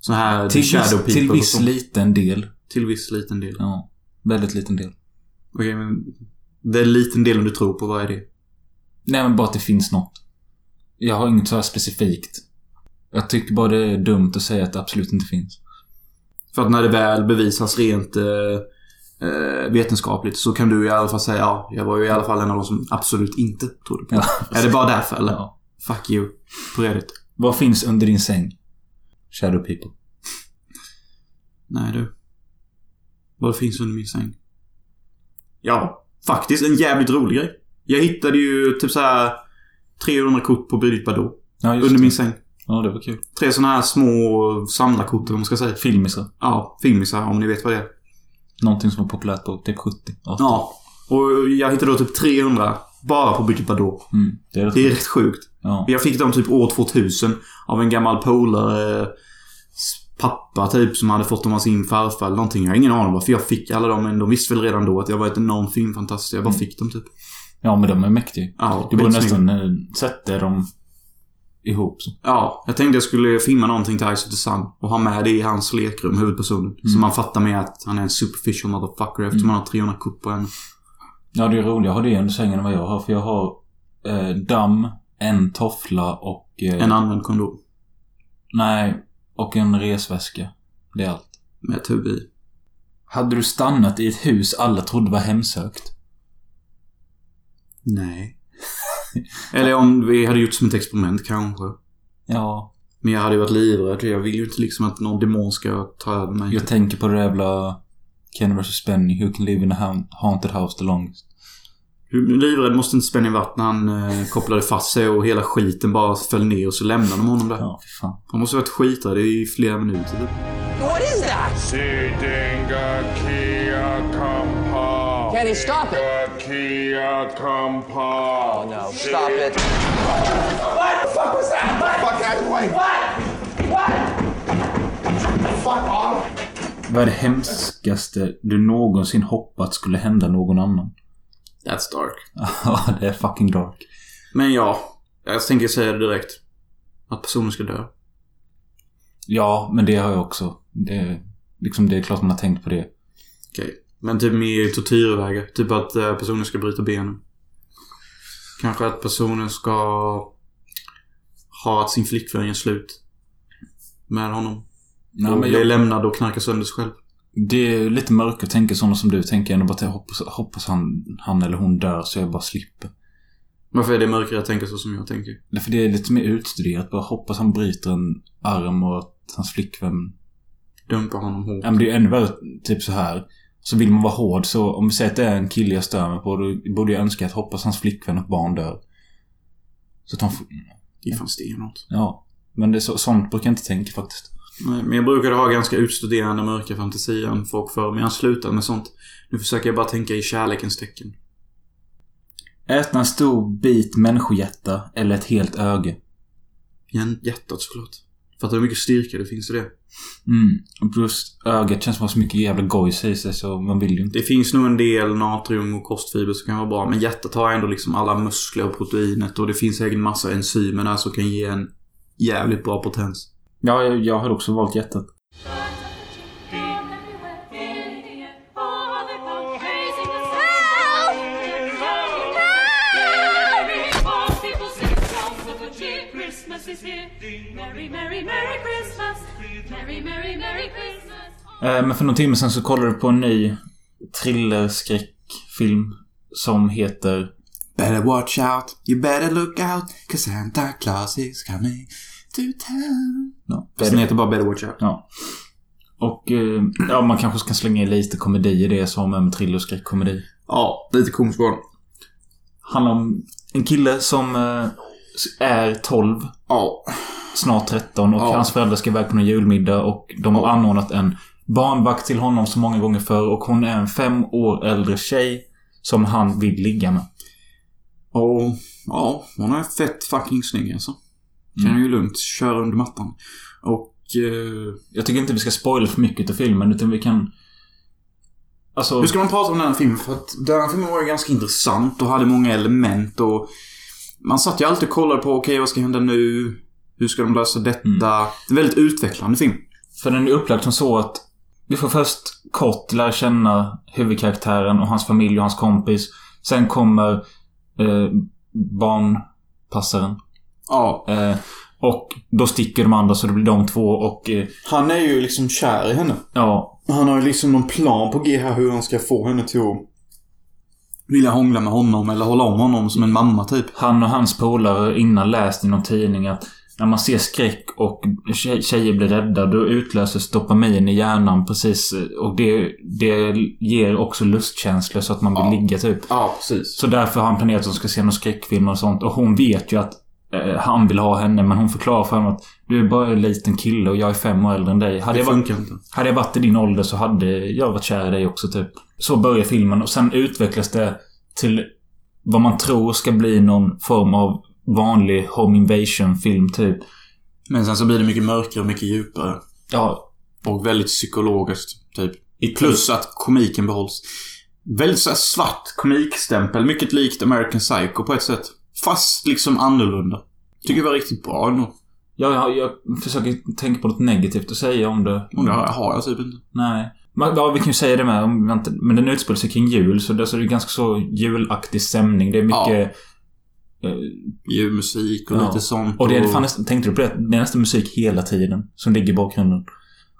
C: Så här
A: till
C: shadow
A: viss,
C: people
A: till
C: och
A: viss
C: sånt.
A: liten del.
C: till viss liten del.
A: Ja. Väldigt liten del.
C: Okej, men den liten delen du tror på, vad är det?
A: Nej, men bara att det finns något. Jag har inget så här specifikt. Jag tycker bara det är dumt att säga att det absolut inte finns.
C: För att när det väl bevisas rent eh, eh, vetenskapligt så kan du i alla fall säga ja, jag var ju i alla fall en av de som absolut inte trodde på det. Är det bara därför eller?
A: Ja.
C: Fuck you. På Reddit.
A: Vad finns under din säng? Shadow people.
C: Nej du. Vad finns under min säng? Ja, faktiskt en jävligt rolig grej. Jag hittade ju typ så här 300 kort på Brigitte Bardot.
A: Ja,
C: Under min säng.
A: Ja, det var kul.
C: Tre såna här små samlarkort eller vad man ska säga.
A: Filmisar.
C: Ja, filmisar om ni vet vad det är.
A: Någonting som var populärt på typ 70. 80.
C: Ja. Och jag hittade då typ 300 bara på Brigitte Bardot.
A: Mm, det är rätt
C: Det är
A: kul.
C: rätt sjukt.
A: Ja.
C: Jag fick dem typ år 2000 av en gammal polare eh, s- pappa typ som hade fått dem av sin farfar eller någonting. Jag har ingen aning om varför jag fick alla dem men de visste väl redan då att jag var ett enormt filmfantast. Jag bara fick dem typ.
A: ja, men de är mäktiga.
C: Ja,
A: Du Mm. borde
C: skitsnyggt.
A: nästan eh, sätta dem ihop så.
C: Ja, jag tänkte jag skulle filma någonting till Ice of the Sun och ha med det i hans lekrum, huvudpersonen. Så
A: Mm.
C: man fattar med att han är en superficial motherfucker eftersom han har 300 kort på en.
A: Ja, det är roligt. Jag har det under sängen än vad jag har. För jag har eh, damm, en toffla och... Eh,
C: En använd kondom.
A: Nej, och en resväska. Det är allt.
C: Med tub i.
A: Hade du stannat i ett hus alla trodde var hemsökt?
C: Nej. Eller om vi hade gjort som ett experiment kanske.
A: Ja.
C: Men jag hade ju varit livrädd. Jag vill ju inte liksom att någon demon ska ta över mig.
A: Jag tänker på det där jävla Ken vs. Benny. Who can live in a haun- haunted house the longest?
C: Livrädd måste inte spänna i vattnet. Han eh, kopplade fast sig och hela skiten bara föll ner och så lämnade de honom där.
A: Ja, fy fan.
C: Han måste ha varit skiträdd i flera minuter typ.
G: What is that?
F: Sidinga Kia Kampa.
G: Kenny, stop it.
F: Kia Kampa.
G: No, stop it.
H: What the fuck was that? What? Fuck out of the way. What? What? Fuck off.
A: Vad är det hemskaste du någonsin hoppats skulle hända någon annan?
C: That's dark.
A: Ja, det är fucking dark.
C: Men ja. Jag tänker säga det direkt. Att personen ska dö.
A: Ja, men det har jag också. Det, liksom, det är klart man har tänkt på det.
C: Okej. Men typ mer tortyrvägar. Typ att eh, personen ska bryta benen. Kanske att personen ska ha att sin flickvän gör slut. Med honom.
A: Nej,
C: och
A: men
C: bli
A: jag,
C: lämnad och knarka sönder sig själv.
A: det är lite mörkt att tänka sådana som du tänker. Ändå bara att jag hoppas, hoppas han, han eller hon dör så jag bara slipper.
C: Varför är det mörkare att tänka så som jag tänker?
A: Nej, För det är lite mer utstuderat. Bara hoppas han bryter en arm och att hans flickvän...
C: Dumpa honom hårt.
A: Ja, men det är ju ännu värre typ så här. Så vill man vara hård så om vi säger att det är en kille jag stör mig på då borde jag önska att hoppas hans flickvän och barn dör. Så att han får...
C: Det är fan stenhårt.
A: Ja. Men det är så, sånt brukar jag inte tänka faktiskt.
C: Nej, men jag brukade ha ganska utstuderande mörka fantasier om folk förr, men jag har slutat med sånt. Nu försöker jag bara tänka i kärlekens tecken.
A: Äta en stor bit människohjärta eller ett helt öga.
C: Hjär- Hjärtat såklart. Fattar du hur mycket styrka det finns i det?
A: Mm. Och plus ögat känns som att så mycket jävla gojs i sig så man vill ju inte.
C: Det finns nog en del natrium och kostfiber som kan vara bra, men hjärtat har ändå liksom alla muskler och proteinet och det finns säkert en massa enzymer där som kan ge en jävligt bra potens.
A: Ja, jag, jag hade också valt hjärtat.
I: Christmas is here. Merry, merry, merry Christmas. Merry, merry, merry Christmas.
A: Eh, Men för någon timme sedan så kollade du på en ny thrillerskräckfilm som heter...
C: Better watch out, you better look out, cause Santa Claus is coming to town.
A: Ja,
C: Fast den heter bara Better watch out.
A: Ja. Och eh, ja, man kanske ska slänga in lite komedi i det som en thrillerskräckkomedi.
C: Ja, lite komisk var den.
A: Handlar om en kille som eh, är 12,
C: Ja.
A: snart 13 och
C: Ja.
A: hans föräldrar ska iväg på någon julmiddag och de har
C: Ja.
A: anordnat en barnvakt till honom så många gånger förr och hon är en fem år äldre tjej som han vill ligga med.
C: Och ja, hon är fett fucking snygg alltså. Kan jag ju lugnt köra under mattan. Och eh,
A: Jag tycker inte vi ska spoila för mycket av filmen utan vi kan... Alltså...
C: hur ska man prata om den här filmen? För att den här filmen var ju ganska intressant och hade många element och man satt ju alltid och kollade på, okej vad ska hända nu? Hur ska de lösa detta? Det är en väldigt utvecklande film.
A: För den är upplagd som så att vi får först kort lära känna huvudkaraktären och hans familj och hans kompis. Sen kommer eh, barnpassaren.
C: Ja.
A: Eh, och då sticker de andra så det blir de två och eh,
C: Han är ju liksom kär i henne.
A: ja,
C: Han har ju liksom någon plan på G här hur han ska få henne till att vilja hångla med honom eller hålla om honom som en mamma typ.
A: han och hans polare har innan läst i någon tidning att när man ser skräck och tje- tjejer blir rädda då utlöses dopamin i hjärnan precis eh, och det, det ger också lustkänslor så att man vill ligga typ.
C: Ja, precis.
A: Så därför har han planerat att hon ska se någon skräckfilm och sånt. Och hon vet ju att eh, han vill ha henne, men hon förklarar för honom att du är bara en liten kille och jag är fem år äldre än dig. Hade
C: Det
A: jag, varit,
C: funkar inte.
A: hade jag varit i din ålder så hade jag varit kär i dig också, typ. Så börjar filmen och sen utvecklas det till vad man tror ska bli någon form av vanlig home invasion-film, typ.
C: Men sen så blir det mycket mörkare och mycket djupare.
A: Ja,
C: Och väldigt psykologiskt, typ. Plus att komiken behålls. Väldigt så här svart komikstämpel, mycket likt American Psycho på ett sätt. Fast liksom annorlunda. Tycker det var riktigt bra ändå.
A: jag, jag, jag försöker tänka på något negativt att säga om det.
C: Och det har jag- har jag typ inte.
A: Nej. Men, ja, vi kan ju säga det med. om vi inte- Men den utspelar sig kring jul, så det, så det är ganska så julaktig stämning. Det är mycket... eh,
C: Ljuv musik och
A: Ja.
C: lite sånt.
A: Och det är fan nästan, tänkte du på det? Det är nästan musik hela tiden som ligger i bakgrunden.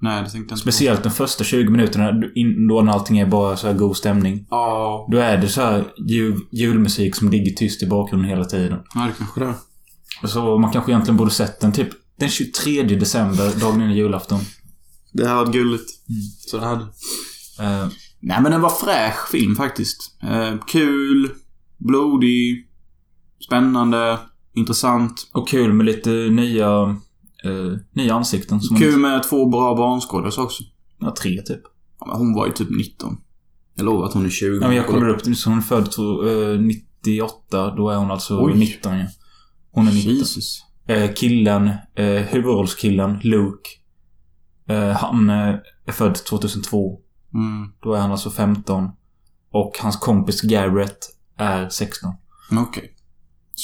C: Nej, det tänkte jag inte på.
A: Speciellt de första 20 minuterna du- innan allting är bara så här god stämning.
C: Ja,
A: Då är det så här jul, julmusik som ligger tyst i bakgrunden hela tiden.
C: ja, det kanske det är.
A: Så man kanske egentligen borde sett den typ den 23 december, dagen innan julafton.
C: Det hade varit gulligt.
A: Mm.
C: Så det hade.
A: Eh,
C: Nej, men den var fräsch film faktiskt. Eh, kul, blodig, spännande, intressant.
A: och kul med lite nya, eh, nya ansikten. Som
C: Kul med två bra barnskådespelare också.
A: Ja, tre typ.
C: Mm. Ja, men hon var ju typ 19. Jag lovar att hon är 20.
A: Ja, men jag kollar upp det. Så hon är född tror, eh, 98. Då är hon alltså
C: Oj.
A: 19 ja. Hon är 19.
C: Jesus.
A: Eh, killen, eh, huvudrollskillen, Luke. Eh, han eh, är född 2002.
C: Mm,
A: Då är han alltså 15. Och hans kompis Garrett är 16.
C: men okej.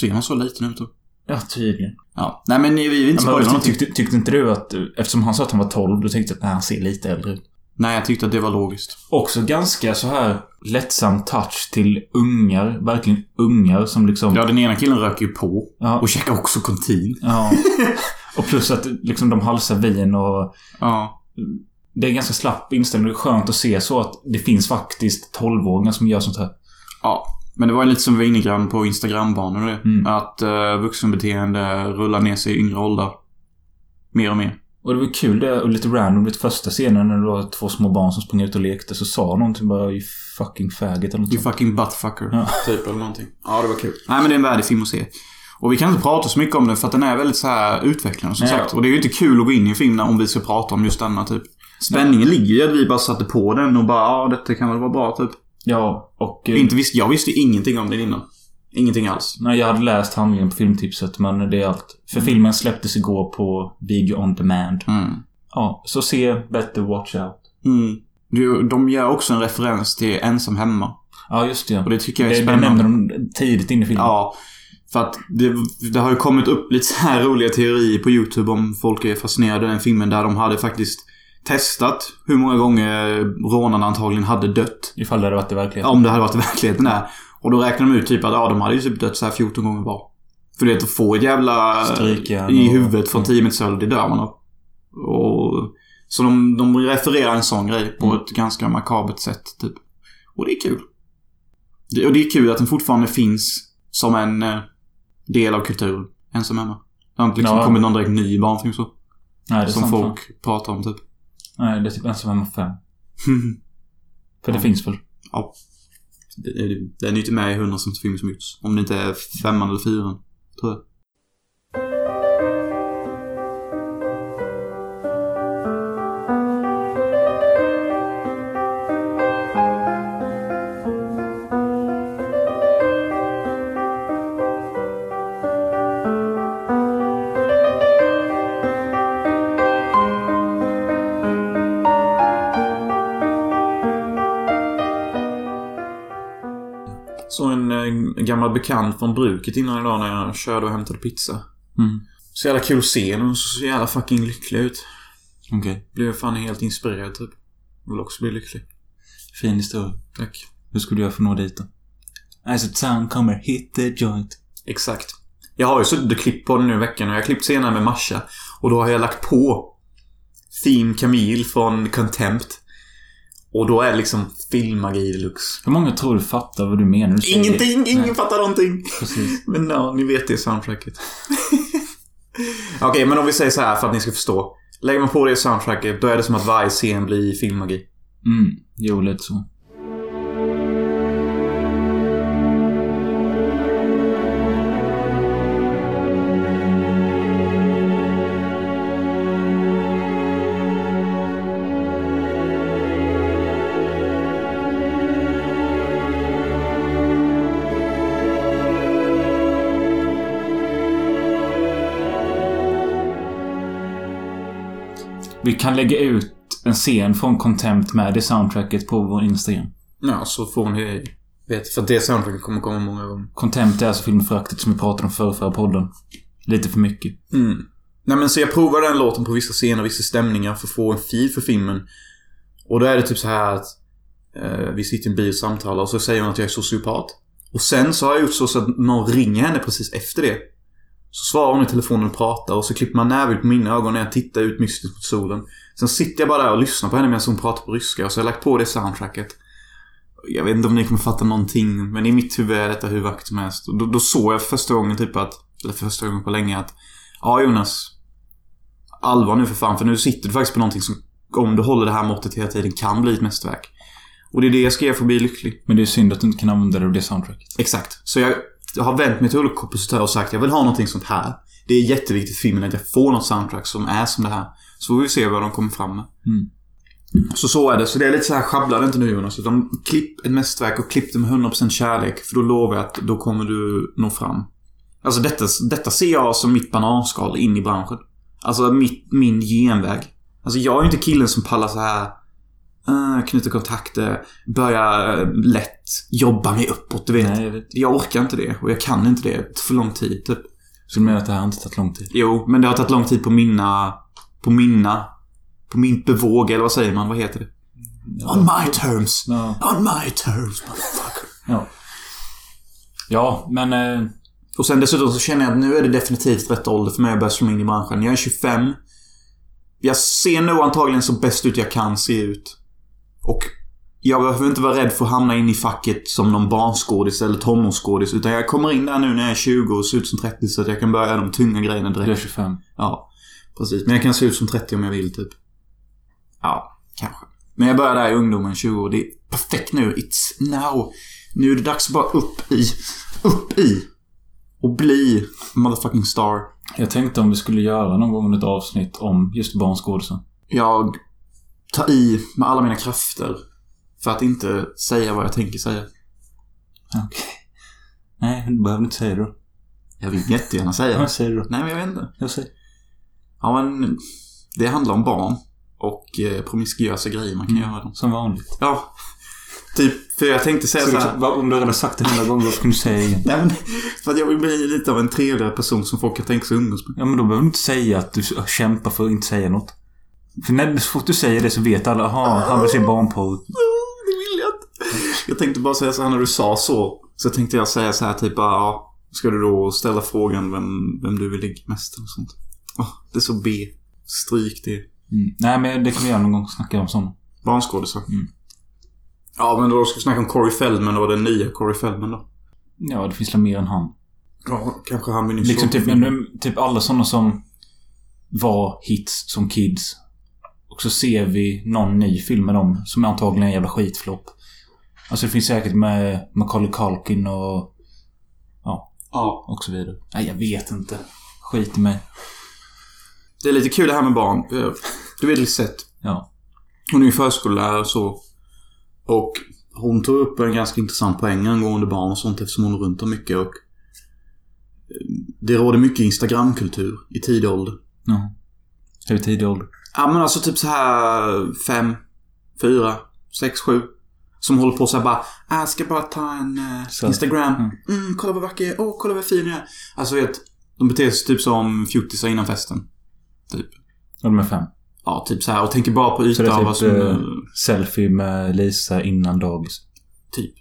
C: Ser man så liten ut då?
A: Ja, tydligen.
C: Ja. Nej, men vi vill inte
A: Ja,
C: spoila
A: men, alltså,
C: någonting.
A: tyckte, tyckte inte du att, eftersom han sa att han var 12, då tänkte jag att nej, han ser lite äldre ut.
C: Nej, jag tyckte att det var logiskt.
A: Också ganska så här lättsam touch till ungar, verkligen ungar som liksom...
C: Ja, den ena killen röker ju på.
A: Ja.
C: Och käkar också kontin.
A: ja. Och plus att liksom de halsar vin och...
C: Ja.
A: Det är ganska slapp inställning. Det är skönt att se så att det finns faktiskt 12-åringar som gör sånt här.
C: Ja. Men det var ju lite som vi var inne grann på Instagram-banor och det.
A: Mm.
C: Att eh, vuxenbeteende rullar ner sig i yngre åldrar. Mer och mer.
A: Och det var kul det, och lite random, vid första scenen när det var två små barn som sprang ut och lekte så sa någonting bara "You fucking faggot eller något
C: You
A: sånt.
C: fucking buttfucker.
A: Ja.
C: Typ eller någonting. Ja, det var kul. Nej, men det är en värdig film att se. Och vi kan inte prata så mycket om den för att den är väldigt så här utvecklande som
A: Nej.
C: sagt. Och det är ju inte kul att gå in i en film när- om vi ska prata om just denna typ. Spänningen ligger ju i att vi bara satte på den och bara ja, detta kan väl vara bra typ.
A: Ja, och... eh,
C: Inte visste, jag visste ju ingenting om den innan. Ingenting alls.
A: Nej, jag hade läst handlingen på filmtipset, men det är allt. För filmen släpptes igår på video on demand.
C: Mm.
A: Ja, så se Better Watch Out.
C: Mm. Du, de gör också en referens till Ensam Hemma.
A: Ja, just det.
C: Och det tycker jag är
A: Det, det
C: spännande.
A: nämnde de tidigt in i filmen.
C: Ja. För att det, det har ju kommit upp lite så här roliga teorier på YouTube om folk är fascinerade av den filmen där de hade faktiskt testat hur många gånger rånarna antagligen hade dött.
A: Ifall det hade varit i verkligheten.
C: Om det hade varit i verkligheten där. Och då räknade de ut typ att ja, de hade ju typ dött så här 14 gånger var. För du vet, att få ett jävla
A: Strykjärn
C: i
A: och-
C: huvudet från 10 meters höjd, det dör man av. Och, så de, de refererar en sån grej
A: Mm.
C: på ett ganska makabert sätt, typ. Och det är kul. Det, och det är kul att den fortfarande finns som en eh, del av kulturen. Ensam hemma. Det har inte liksom
A: Ja.
C: kommit någon direkt ny barnfilm så.
A: Nej, det är
C: Som
A: sant,
C: folk
A: fan.
C: pratar om, typ.
A: Nej, det är typ Ensam hemma 5. För det finns väl?
C: ja. Det- Den är ju inte med i 100 som film som gjorts. Om det inte är femman eller fyran, tror jag. Så en eh, gammal bekant från bruket innan idag när jag körde och hämtade pizza. Mm. Så jävla kul att se henne. Hon såg så jävla fucking lycklig ut.
A: Okej.
C: Blev fan helt inspirerad typ. Vill också bli lycklig.
A: Fin historia.
C: Tack.
A: Hur skulle du göra för att nå dit då? As the town kommer, hit the joint.
C: Exakt. Jag har ju suttit och klippt på den nu i veckan och jag har klippt senare med Masha. Och då har jag lagt på Theme Camille från Contempt. Och då är det liksom filmmagi deluxe.
A: Hur många tror du fattar vad du menar? när du säger det?
C: Ingenting! Ingen fattar någonting!
A: Precis.
C: Men ja, ni vet det soundtracket. Okej, men om vi säger så här för att ni ska förstå. Lägger man på det soundtracket, då är det som att varje scen blir filmmagi.
A: Mm, jo lite så. Vi kan lägga ut en scen från Contempt med det soundtracket på vår Instagram.
C: Ja, så får ni veta. För att det soundtracket kommer komma många gånger.
A: Contempt är alltså filmföraktet som vi pratade om förra, förra podden. Lite för mycket.
C: Mm. Nej men så jag provar den låten på vissa scener, vissa stämningar för att få en feel för filmen. Och då är det typ så här att eh, vi sitter i en bil och samtalar och så säger hon att jag är sociopat. Och sen så har jag gjort så, så att någon ringer henne precis efter det. Så svarar hon i telefonen och pratar och så klipper man närbild på mina ögon när jag tittar ut mystiskt mot solen. Sen sitter jag bara där och lyssnar på henne medan hon pratar på ryska och så har jag lagt på det soundtracket. Jag vet inte om ni kommer fatta någonting, men i mitt huvud är detta hur vackert som helst. Och då, då såg jag för första gången typ att, eller för första gången på länge att, ja Jonas. Allvar nu för fan, för nu sitter du faktiskt på någonting som, om du håller det här måttet hela tiden, kan bli ett mästerverk. Och det är det jag ska göra för att bli lycklig.
A: Men det är synd att du inte kan använda det av det soundtracket.
C: Exakt. Så jag jag har vänt mig till olika kompositörer och sagt jag vill ha någonting sånt här. Det är jätteviktigt för filmen att jag får något soundtrack som är som det här. Så får vi se vad de kommer fram med.
A: Mm.
C: Så så är det. Så det är lite så här, sjabbla det inte nu Jonas. Utan klipp ett mästerverk och klipp det med 100% kärlek. För då lovar jag att då kommer du nå fram. Alltså detta, detta ser jag som mitt bananskal in i branschen. Alltså mitt, min genväg. Alltså jag är ju inte killen som pallar så här eh, knyta kontakter, börja eh, lätt jobba mig uppåt, du vet.
A: Nej, jag vet.
C: Jag orkar inte det och jag kan inte det. Det tar för lång tid, typ.
A: Så du menar att det här har inte tagit lång tid?
C: Jo, men det har tagit lång tid på mina... På mina... På min bevåg, eller vad säger man? Vad heter det? On my terms!
A: Ja.
C: On my terms, motherfucker.
A: Ja. Ja, men... Eh,
C: Och sen dessutom så känner jag att nu är det definitivt rätt ålder för mig att börja slå mig in i branschen. Jag är 25. Jag ser nog antagligen så bäst ut jag kan se ut. Och jag behöver inte vara rädd för att hamna in i facket som någon barnskådis eller tonårsskådis. Utan jag kommer in där nu när jag är 20 och ser ut som 30 så att jag kan börja göra de tunga grejerna
A: du är
C: direkt.
A: 25.
C: Ja, precis. Men jag kan se ut som 30 om jag vill, typ. Ja, kanske. Men jag börjar där i ungdomen, 20 år. Det är perfekt nu. It's now. Nu är det dags att bara upp i. Upp i. Och bli motherfucking star.
A: Jag tänkte om vi skulle göra någon gång ett avsnitt om just barnskådisen.
C: Jag tar i med alla mina krafter. För att inte säga vad jag tänker säga.
A: Okej. Nej, du behöver inte säga det då.
C: Jag vill jättegärna säga.
A: Jag säger det då.
C: Nej, men jag vet inte.
A: Jag säger.
C: Ja, men det handlar om barn. Och eh, promiskuösa grejer man kan göra. dem.
A: Som vanligt.
C: Ja. Typ, för jag tänkte säga så här.
A: om du redan sagt det hundra gånger, vad ska du säga igen?
C: Nej, men, för att jag vill bli lite av en trevligare person som folk kan tänka sig umgås med.
A: Ja, men då behöver du inte säga att du kämpar för att inte säga något. För när, så fort du säger det så vet alla, aha, han vill se barnporr.
C: Det vill jag inte. Jag tänkte bara säga så här när du sa så. Så tänkte jag säga så här typ bara, ja, ska du då ställa frågan vem, vem du vill ligga mest och sånt. Åh, det är så B. Stryk det.
A: Mm. Nej, men det kan vi göra någon gång. Snacka om sånt.
C: Barnskådisar. Ja, men då ska vi snacka om Corey Feldman och den nya Corey Feldman då.
A: Ja, det finns väl mer än han.
C: Ja, kanske han vill
A: Liksom typ, men, typ alla såna som var hits som kids. Och så ser vi någon ny film med dem som är antagligen en jävla skitflopp. Alltså det finns säkert med Macaulay Culkin och,
C: Ja.
A: och så vidare. Nej, jag vet inte. Skit i mig.
C: Det är lite kul det här med barn. Du vet Lisette.
A: Ja.
C: Hon är ju förskollärare och så. Och hon tog upp en ganska intressant poäng angående barn och sånt eftersom hon är runt dem mycket. Och eh, det råder mycket Instagramkultur i tidig ålder.
A: ja. Hur tidig ålder?
C: Ja men alltså typ så här fem, fyra, sex, sju. Som håller på så här bara, jag ska bara ta en eh,
A: Så.
C: Instagram.
A: Mm.
C: Mm, kolla vad vacker jag är. Åh, kolla vad fin jag är. Alltså vet, de beter sig typ som fjortisar innan festen.
A: Ja, de är fem.
C: Ja, typ så här och tänker bara på
A: Så det
C: ytan.
A: är
C: vad
A: typ
C: som,
A: eh,
C: eh,
A: selfie med Lisa innan dagis.
C: Typ.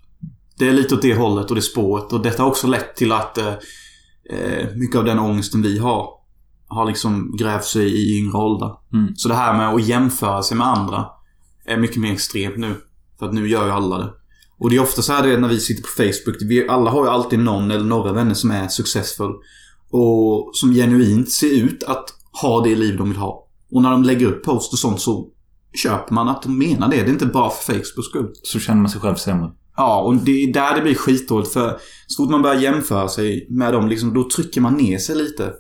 C: Det är lite åt det hållet och det spåret. Och detta har också lett till att eh, eh, mycket av den ångesten vi har har liksom grävt sig i yngre åldrar.
A: Mm.
C: Så det här med att jämföra sig med andra är mycket mer extremt nu. För att nu gör ju alla det. Och det är ofta så här det är när vi sitter på Facebook. Vi alla har ju alltid någon eller några vänner som är successful. Och som genuint ser ut att ha det liv de vill ha. Och när de lägger upp post och sånt så köper man att de menar det. Det är inte bara för Facebooks skull.
A: Så känner man sig själv sämre.
C: Ja, och det är där det blir skitdåligt. För så fort man börjar jämföra sig med dem, liksom, då trycker man ner sig lite.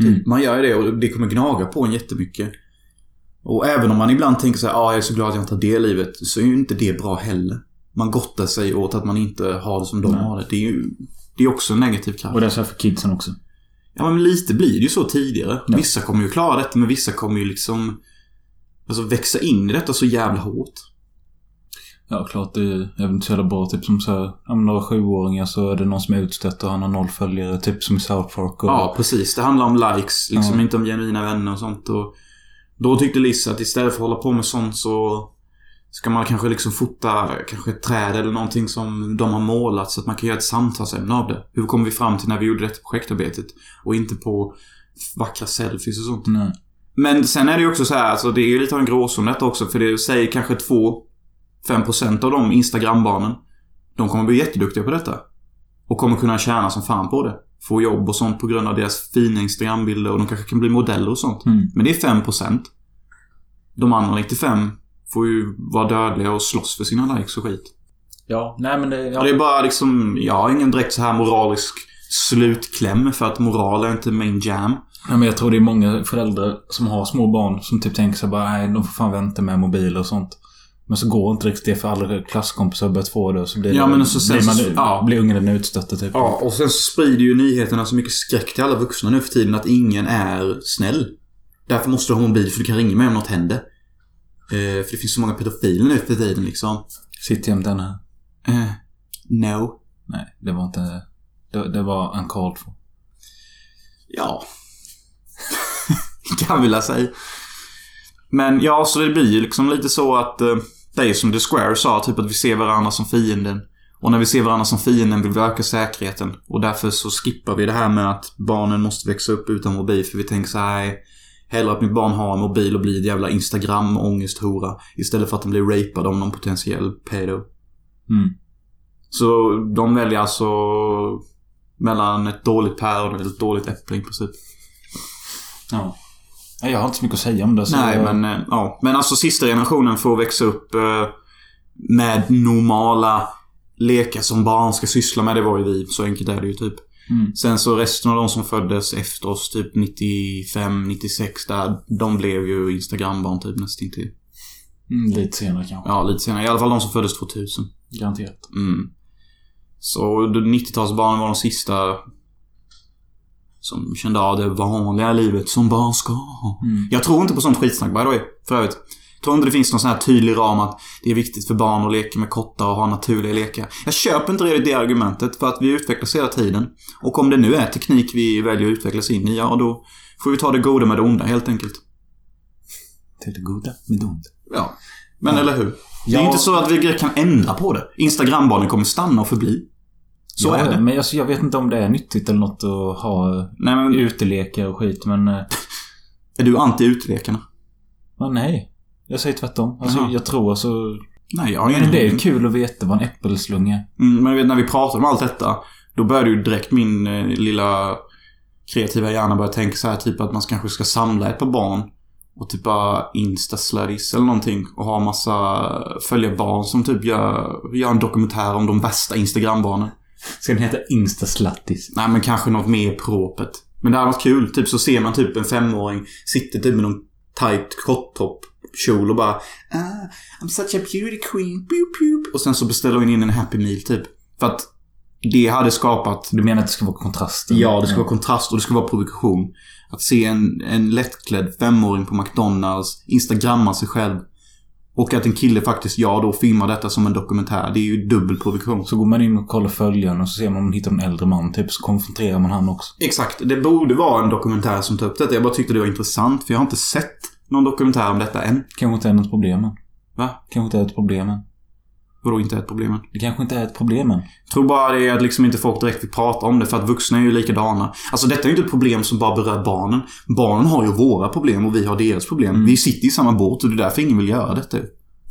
A: Mm.
C: Man gör ju det och det kommer gnaga på en jättemycket. Och även om man ibland tänker så här, ah, jag är så glad att jag inte har det livet, så är ju inte det bra heller. Man gottar sig åt att man inte har det som de
A: Nej.
C: har det. Det är ju det är också en negativ kraft.
A: Och det är så här för kidsen också.
C: Ja, men lite blir det ju så tidigare.
A: Ja.
C: Vissa kommer ju klara detta, men vissa kommer ju liksom... Alltså växa in i detta så jävla hårt.
A: Ja, klart det är jag vet inte så jävla bra. Typ som så här, om några sjuåringar så är det någon som är utstött och han har noll följare. Typ som i South Park. Och,
C: Ja, precis. Det handlar om likes, liksom
A: Ja.
C: inte om genuina vänner och sånt. Och då tyckte Liz att istället för att hålla på med sånt så Ska man kanske liksom fota kanske ett träd eller någonting som de har målat så att man kan göra ett samtalsämne av det. Hur kom vi fram till när vi gjorde detta projektarbetet? Och inte på vackra selfies och sånt.
A: Nej.
C: Men sen är det ju också så här, alltså det är ju lite av en gråzon detta också. För det säger kanske 2-5% av de Instagram-barnen. De kommer bli jätteduktiga på detta. Och kommer kunna tjäna som fan på det. Få jobb och sånt på grund av deras fina Instagram-bilder och de kanske kan bli modeller och sånt.
A: Mm.
C: Men det är 5%. De andra 95 får ju vara dödliga och slåss för sina likes och skit.
A: Ja, nej men det...
C: Ja, det är bara liksom, jag har ingen direkt så här moralisk slutkläm för att moral är inte min jam.
A: Ja, men jag tror det är många föräldrar som har små barn som typ tänker sig bara nej, de får fan vänta med mobiler och sånt. Men så går inte riktigt det för alla klasskompisar har börjat få det och så blir,
C: Ja,
A: det,
C: men så sen
A: blir, man,
C: så- ja.
A: blir ungen den utstötta typ.
C: Ja, och sen så sprider ju nyheterna så mycket skräck till alla vuxna nu för tiden att ingen är snäll. Därför måste du ha mobil för du kan ringa mig om något händer. Eh, för det finns så många pedofiler nu för tiden liksom.
A: Sitt jämt den här.
C: Eh, no.
A: Nej, det var inte... Det, det var uncalled for.
C: Ja. kan vilja säga. Men ja, så det blir ju liksom lite så att eh, det är ju som The Square sa, typ att vi ser varandra som fienden. Och när vi ser varandra som fienden vill vi öka säkerheten. Och därför så skippar vi det här med att barnen måste växa upp utan mobil. För vi tänker så här, "Nej, hellre att mitt barn har en mobil och blir ett jävla Instagram-ångesthora. Istället för att de blir rapade av någon potentiell pedo.
A: Mm.
C: Så de väljer alltså mellan ett dåligt päron och ett dåligt äpple i princip.
A: Ja. Nej, Jag har inte så mycket att säga om det. Så
C: Nej,
A: jag,
C: men eh, ja. Men alltså sista generationen får växa upp eh, med normala lekar som barn ska syssla med. Det var ju vi. Så enkelt är det ju typ.
A: Mm.
C: Sen så resten av de som föddes efter oss, typ 95, 96 där. De blev ju Instagrambarn typ nästintill.
A: Mm, lite senare kanske.
C: Ja, lite senare. I alla fall de som föddes 2000.
A: Garanterat.
C: Mm. Så då 90-talsbarnen var de sista som kände av det vanliga livet som barn ska ha.
A: Mm.
C: Jag tror inte på sånt skitsnack by the way, för övrigt. Jag tror inte det finns någon sån här tydlig ram att det är viktigt för barn att leka med kottar och ha naturliga lekar. Jag köper inte riktigt det argumentet för att vi utvecklas hela tiden. Och om det nu är teknik vi väljer att utvecklas in i, ja då får vi ta det goda med det onda helt enkelt.
A: Till det goda med det onda.
C: Ja. Men eller hur? Det är
A: Ja.
C: inte så att vi kan ändra på det. Instagrambarnen kommer stanna och förbli. Så
A: ja,
C: är det.
A: Men alltså, jag vet inte om det är nyttigt eller något att ha
C: Nej men,
A: utelekar och skit, men... eh,
C: är du anti utlekarna?
A: Men nej. Jag säger tvärtom. Alltså,
C: Jaha.
A: jag tror alltså...
C: Nej, jag har
A: Men
C: ingen
A: det är ju kul att veta vad en äppelslunga är.
C: Mm, men jag vet, när vi pratade om allt detta, då började ju direkt min eh, lilla kreativa hjärna börja tänka så här typ att man kanske ska samla ett par barn och typ bara instasladdis eller någonting och ha massa följarbarn som typ gör, gör en dokumentär om de värsta Instagrambarnen.
A: Ska den heta Instaslattis?
C: Nej, men kanske något mer propert. Men det hade varit kul. Typ så ser man typ en femåring sitter typ med någon tight korttopp kjol och bara ah, I'm such a beauty queen. Boop, boop. Och sen så beställer hon in en happy meal typ. För att det hade skapat
A: Du menar att det ska vara kontrasten?
C: Ja, det ska vara kontrast och det ska vara provokation. Att se en, en lättklädd femåring på McDonalds instagramma sig själv. Och att en kille faktiskt, ja då, filmar detta som en dokumentär. Det är ju dubbel provokation.
A: Så går man in och kollar följaren och så ser man om man hittar en äldre man typ, så konfronterar man han också.
C: Exakt. Det borde vara en dokumentär som tar upp detta. Jag bara tyckte det var intressant, för jag har inte sett någon dokumentär om detta än.
A: Kanske inte är något problem än.
C: Va?
A: Kanske inte är ett problem än.
C: Vadå inte ett problem än?
A: Det kanske inte är ett problem än.
C: Jag tror bara det är att liksom inte folk direkt vill prata om det, för att vuxna är ju likadana. Alltså detta är ju inte ett problem som bara berör barnen. Barnen har ju våra problem och vi har deras problem. Vi sitter i samma båt och det är därför ingen vill göra detta.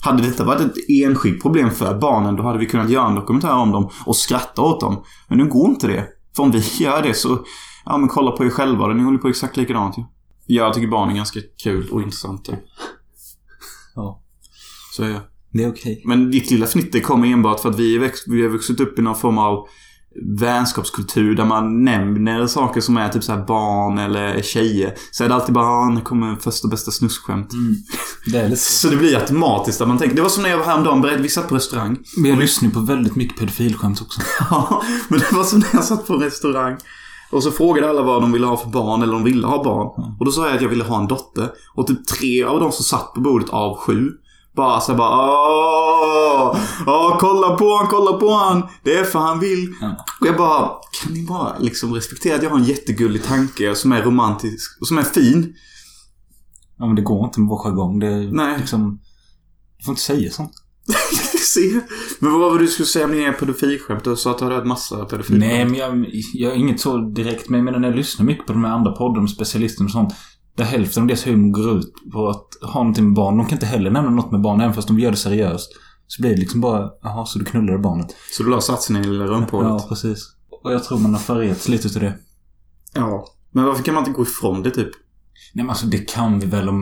C: Hade detta varit ett enskilt problem för barnen, då hade vi kunnat göra en dokumentär om dem och skratta åt dem. Men nu går inte det. För om vi gör det så, ja men kolla på er själva då, ni håller på exakt likadant ju. Jag tycker barn är ganska kul och intressanta.
A: Ja.
C: Så är jag.
A: Det är okej.
C: Men ditt lilla fnitter kommer enbart för att vi, är växt, vi har vuxit upp i någon form av vänskapskultur där man nämner saker som är typ så här barn eller tjejer. Så är det alltid bara "Ah, nu kommer första bästa snuskskämt.
A: Det är lite så.
C: Mm. Så det blir automatiskt att man tänker. Det var som när jag var häromdagen, berätt- vi satt på restaurang.
A: Men jag lyssnar ju på väldigt mycket pedofilskämt också.
C: Ja, men det var som när jag satt på en restaurang. Och så frågade alla vad de ville ha för barn eller de ville ha barn.
A: Mm.
C: Och då sa jag att jag ville ha en dotter. Och typ tre av de som satt på bordet av sju bara så här bara åh, åh, kolla på han, kolla på han. Det är för han vill.
A: Mm.
C: Och jag bara, kan ni bara liksom respektera att jag har en jättegullig tanke som är romantisk och som är fin.
A: Ja, men det går inte med vår jargong. Det är
C: Nej.
A: liksom... Du får inte säga sånt.
C: Se. Men vad var det du skulle säga om dina pedofilskämt? Du sa att du hade hört massa pedofiler.
A: Nej, men jag, jag är inget så direkt. Men jag menar när jag lyssnar mycket på de här andra poddarna med specialister och sånt. Där hälften av deras humor går ut på att ha någonting med barn. De kan inte heller nämna något med barn, även fast de gör det seriöst. Så blir det liksom bara, jaha, så du knullade barnet.
C: Så du la satsen i lilla
A: Ja,
C: rönnpålet? Ja.
A: precis. Och jag tror man har förretts lite utav det.
C: ja. Men varför kan man inte gå ifrån det typ?
A: Nej men alltså det kan vi väl om,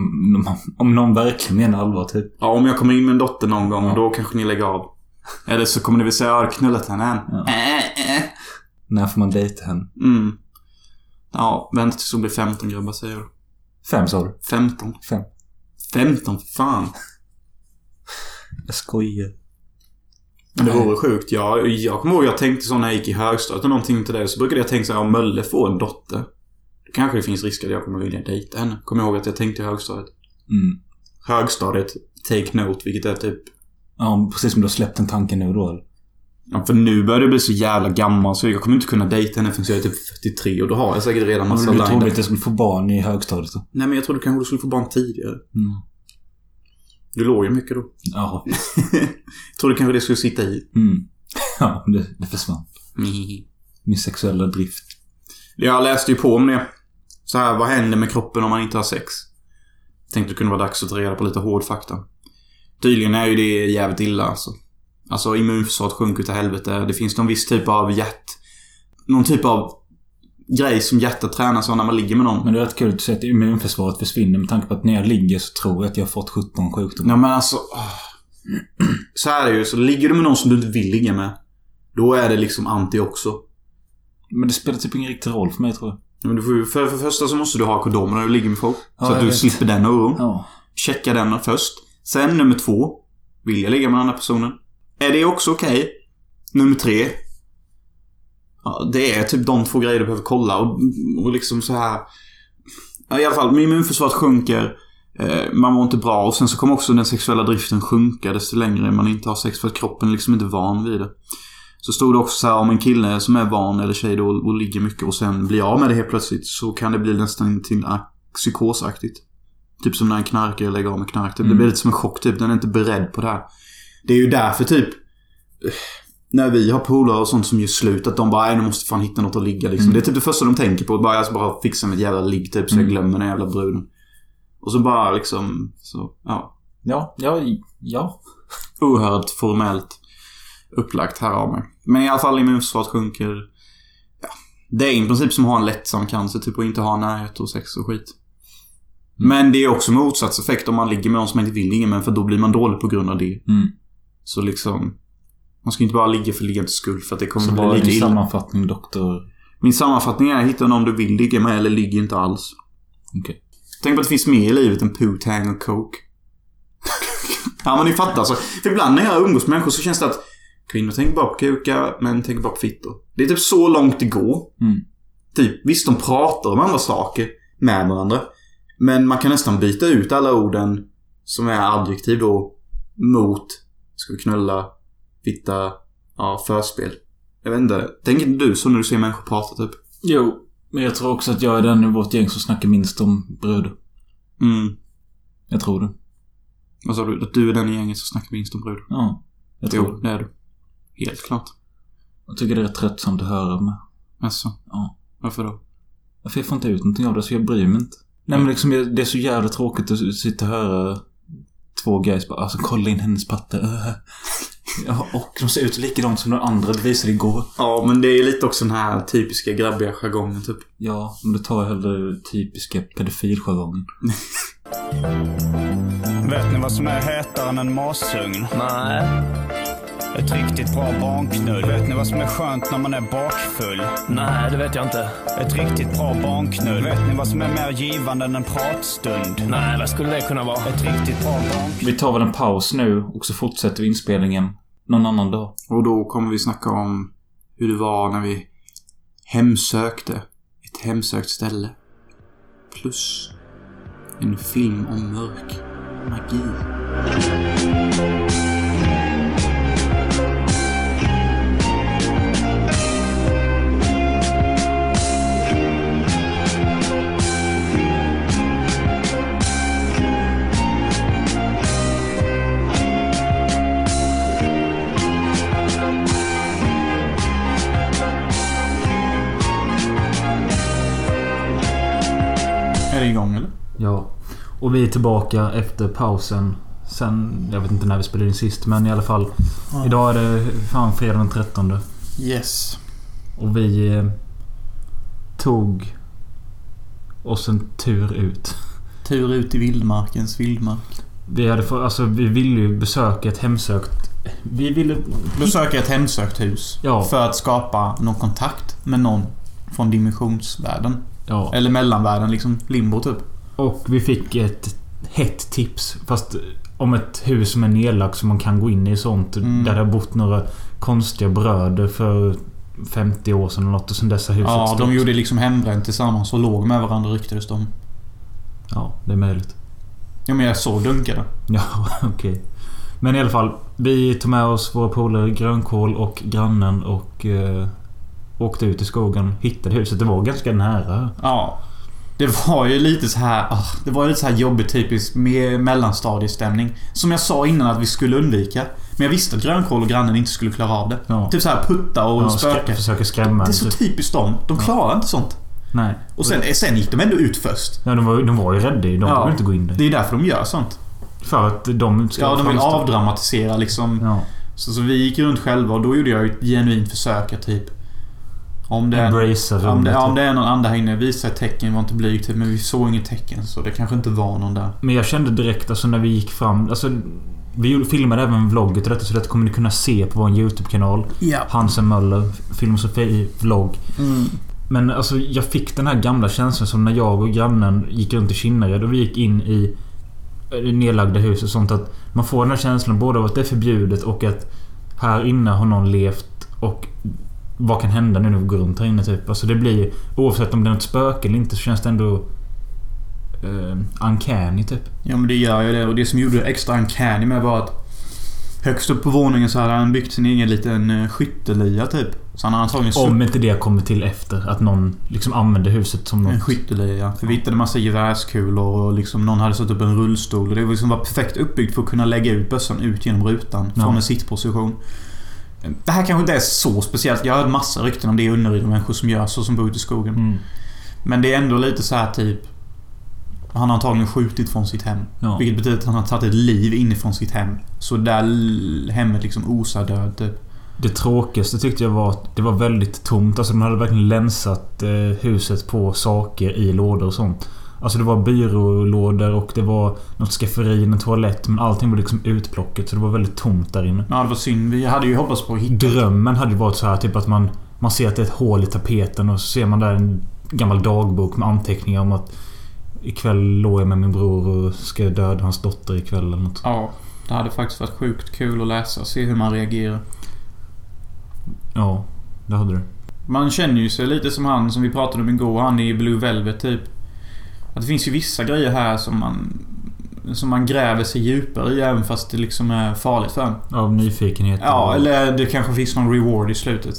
A: om, om någon verkligen menar allvar typ.
C: Ja, om jag kommer in med en dotter någon gång, då kanske ni lägger av. Eller så kommer ni väl säga, "Ja, har knullat henne än?
A: Ja.
C: Äh, äh.
A: När får man dejta henne?
C: Mm. Ja, vänta tills hon blir 15 grabbar säger jag.
A: Fem sa du?
C: 15.
A: Fem.
C: 15, för fan.
A: Jag skojar.
C: Men det vore sjukt. Jag, jag kommer ihåg jag tänkte så när jag gick i högstadiet och någonting till det. Så brukade jag tänka så här, om Mölle får en dotter. Då kanske det finns risk att jag kommer vilja dejta henne. Kommer jag ihåg att jag tänkte i högstadiet.
A: Mm.
C: Högstadiet, take note, vilket är typ...
A: Ja, precis som du har släppt den tanken nu då. eller?
C: Ja, för nu börjar det bli så jävla gammal så jag kommer inte kunna dejta henne förrän jag är typ 43 och då har jag säkert redan massa
A: Du trodde
C: lined
A: att
C: up.
A: jag skulle få barn i högstadiet då?
C: Nej men jag trodde kanske du skulle få barn tidigare.
A: Mm.
C: Du låg ju mycket då.
A: Ja.
C: Jag trodde kanske det skulle sitta i.
A: Mm. Ja, det, det försvann. Min sexuella drift.
C: Jag läste ju på om det. Så här, vad händer med kroppen om man inte har sex? Tänkte det kunde vara dags att ta reda på lite hård fakta. Tydligen är ju det jävligt illa alltså. Alltså immunförsvaret sjunker till helvete. Det finns någon viss typ av hjärt... Någon typ av grej som hjärtat tränas av när man ligger med någon.
A: Men det är rätt kul att du säger att immunförsvaret försvinner med tanke på att när jag ligger så tror jag att jag har fått 17 sjukdomar.
C: Ja men alltså... åh. Så här är det ju. Så ligger du med någon som du inte vill ligga med. Då är det liksom anti också.
A: Men det spelar typ ingen riktig roll för mig tror jag.
C: Men du får ju, för, för det första så måste du ha kondom när du ligger med folk.
A: Ja,
C: så att
A: jag
C: du
A: vet.
C: slipper den oron.
A: Ja.
C: Checka den först. Sen nummer två. Vill jag ligga med den andra personen? Är det också okej? Nummer tre. Ja, det är typ de två grejer du behöver kolla och, och liksom så här. Ja, I alla fall, immunförsvaret sjunker. Eh, man mår inte bra och sen så kommer också den sexuella driften sjunka desto längre man inte har sex för att kroppen liksom inte är van vid det. Så stod det också så här om en kille som är van eller tjej då och ligger mycket och sen blir av med det helt plötsligt så kan det bli nästan till a- psykosaktigt. Typ som när en knarkare lägger av med knark. Typ. Det blir lite som en chock typ. Den är inte beredd på det här. Det är ju därför typ eh, när vi har polare och sånt som gör slut att de bara "Nej, nu måste fan hitta något att ligga liksom. Det är typ det första de tänker på. Bara, jag ska bara fixa mitt jävla ligg typ så jag glömmer den jävla bruden. Och så bara liksom så, ja.
A: Ja, ja, ja.
C: Oerhört formellt upplagt här av mig. Men i alla fall immunförsvaret sjunker. Ja. Det är i princip som att ha en lättsam cancer, typ att inte ha närhet och sex och skit.
A: Mm.
C: Men det är också motsatseffekt om man ligger med någon som man inte vill ligga med, för då blir man dålig på grund av det.
A: Mm.
C: Så liksom... Man ska inte bara ligga för liggandets skull, för att det kommer
A: Så
C: bli
A: var
C: lite
A: din
C: illa.
A: sammanfattning, doktor.
C: Min sammanfattning är, hitta någon du vill ligga med eller ligg inte alls.
A: Okej.
C: Tänk på att det finns mer i livet än poo, tang och coke. ja, men ni fattar. Så, för ibland när jag umgås med människor så känns det att kvinnor tänker bara på kukar, män tänker bara på fittor. Det är typ så långt det går.
A: Mm.
C: Typ, visst de pratar om andra saker med varandra. Men man kan nästan byta ut alla orden som är adjektiv då mot ska vi knulla, fitta, ja, förspel. Jag vet inte. Tänker inte du så när du ser människor prata typ?
A: Jo, men jag tror också att jag är den i vårt gäng som snackar minst om brud.
C: Mm.
A: Jag tror det.
C: Vad sa du? Att du är den i gänget som snackar minst om brud?
A: Ja. Jag tror
C: Jo, det är du. Helt klart.
A: Jag tycker det är rätt tröttsamt att höra med.
C: Alltså.
A: Ja.
C: Varför då?
A: För jag får inte ut någonting av det, så jag bryr mig inte. Nej men liksom, jag- det är så jävla tråkigt att sitta och höra två guys bara alltså kolla in hennes patte. Äh. Ja, och de ser ut likadant som de andra du visade igår.
C: Ja, men det är lite också den här typiska grabbiga jargongen typ.
A: Ja, men då tar jag hellre typiska pedofiljargongen.
J: Vet ni vad som är hetare än en masugn? Nej. Ett riktigt bra barnknull. Vet ni vad som är skönt när man är bakfull? Nej, det vet jag inte. Ett riktigt bra barnknull. Vet ni vad som är mer givande än en pratstund? Nej, vad skulle det kunna vara? Ett riktigt bra barnknull.
A: Vi tar väl en paus nu och så fortsätter vi inspelningen någon annan dag.
C: Och då kommer vi snacka om hur det var när vi hemsökte ett hemsökt ställe. Plus en film om mörk magi. Är det igång eller?
A: Ja. Och vi är tillbaka efter pausen. Sen, jag vet inte när vi spelade in sist, men i alla fall.
C: Ja.
A: Idag är det fan fredag den 13.
C: Yes.
A: Och vi eh, tog oss en tur ut.
C: Tur ut i vildmarkens vildmark.
A: Vi hade för, alltså vi ville ju besöka ett hemsökt... Vi ville...
C: Besöka ett hemsökt hus.
A: Ja.
C: För att skapa någon kontakt med någon från dimensionsvärlden.
A: Ja.
C: Eller mellanvärlden, liksom limbo typ.
A: Och vi fick ett hett tips. Fast om ett hus som är nedlagt som man kan gå in i sånt.
C: Mm.
A: Där det har bott några konstiga bröder för 50 år sedan eller något. Och sen dess har huset
C: Ja,
A: stått.
C: de gjorde liksom hembränt tillsammans och låg med varandra ryktades de.
A: Ja, det är möjligt.
C: Ja, men jag såg dunkade.
A: Ja, okej. Men i alla fall. Vi tog med oss våra polare Grönkål och grannen och eh, åkte ut i skogen. Hittade huset. Det var ganska nära.
C: Ja. Det var ju lite så här, ah, det var ju lite så här jobbig typisk me- mellanstadiestämning. Som jag sa innan att vi skulle undvika. Men jag visste att grönkål och grannen inte skulle klara av det.
A: Ja.
C: Typ så här putta och
A: Ja,
C: spöka.
A: skrä- försöker skrämma. typ.
C: Det är så typiskt dem. De klarar inte sånt.
A: Nej.
C: Och sen, sen gick de ändå ut först.
A: Ja, de, var, de var ju rädda. ju. De
C: Ja.
A: ville inte gå in där.
C: Det är därför de gör sånt.
A: För att de ska
C: Ja, de vill
A: framstå-
C: avdramatisera liksom.
A: Ja.
C: Så, så vi gick runt själva och då gjorde jag ett genuint försök att typ... Om det, är,
A: Embracer
C: om,
A: rummet. typ.
C: det, om det är någon andra här inne, visa ett tecken. Var inte blyg typ, men vi såg inget tecken. Så det kanske inte var någon där.
A: Men jag kände direkt alltså när vi gick fram... Alltså, vi gjorde- filmade även vlogget och detta så detta kommer ni kunna se på vår YouTube-kanal.
C: Ja.
A: Hansen Möller, Filmosofi vlogg. Men alltså jag fick den här gamla känslan som när jag och grannen gick runt i Kinnared och vi gick in i eh, det nedlagda hus och sånt. Att man får den här känslan både av att det är förbjudet och att här inne har någon levt och vad kan hända nu när vi går runt här inne typ. Alltså det blir oavsett om det är något spöke eller inte så känns det ändå... Eh, uncanny typ.
C: Ja, men det gör ju det. Och det som gjorde det extra uncanny med var att... Högst upp på våningen så hade han byggt sin egen liten eh, skyttelia typ. Så han hade antagligen
A: Om inte det kommer till efter. Att någon liksom använder huset som
C: En
A: något.
C: skyttelia. För vi hittade massa gevärskulor och liksom någon hade satt upp en rullstol. Och det var liksom var perfekt uppbyggt för att kunna lägga ut bössan ut genom rutan
A: Ja.
C: från en sittposition. Det här kanske inte är så speciellt. Jag har hört massa rykten om det i Unnaryd och människor som gör så som bor ute i skogen.
A: Mm.
C: Men det är ändå lite så här typ... Han har antagligen skjutit från sitt hem.
A: Ja.
C: Vilket betyder att han har tagit ett liv inifrån sitt hem. Så där l- hemmet liksom osar död typ.
A: Det tråkigaste tyckte jag var att det var väldigt tomt. Alltså de hade verkligen länsat eh, huset på saker i lådor och sånt. Alltså det var byrålådor och det var något skafferi, en toalett. Men allting var liksom utplockat så det var väldigt tomt där inne.
C: Ja, det var synd. Vi hade ju hoppats på att hitta...
A: Drömmen hade ju varit så här typ att man, man ser att det är ett hål i tapeten och så ser man där en gammal dagbok med anteckningar om att Ikväll låg jag med min bror och ska döda hans dotter ikväll eller något.
C: Ja. Det hade faktiskt varit sjukt kul att läsa. Se hur man reagerar.
A: Ja, det hade du.
C: Man känner ju sig lite som han som vi pratade om igår, han i Blue Velvet typ. Att det finns ju vissa grejer här som man... Som man gräver sig djupare i även fast det liksom är farligt för en.
A: Av nyfikenhet.
C: Ja,
A: och-
C: eller det kanske finns någon reward i slutet.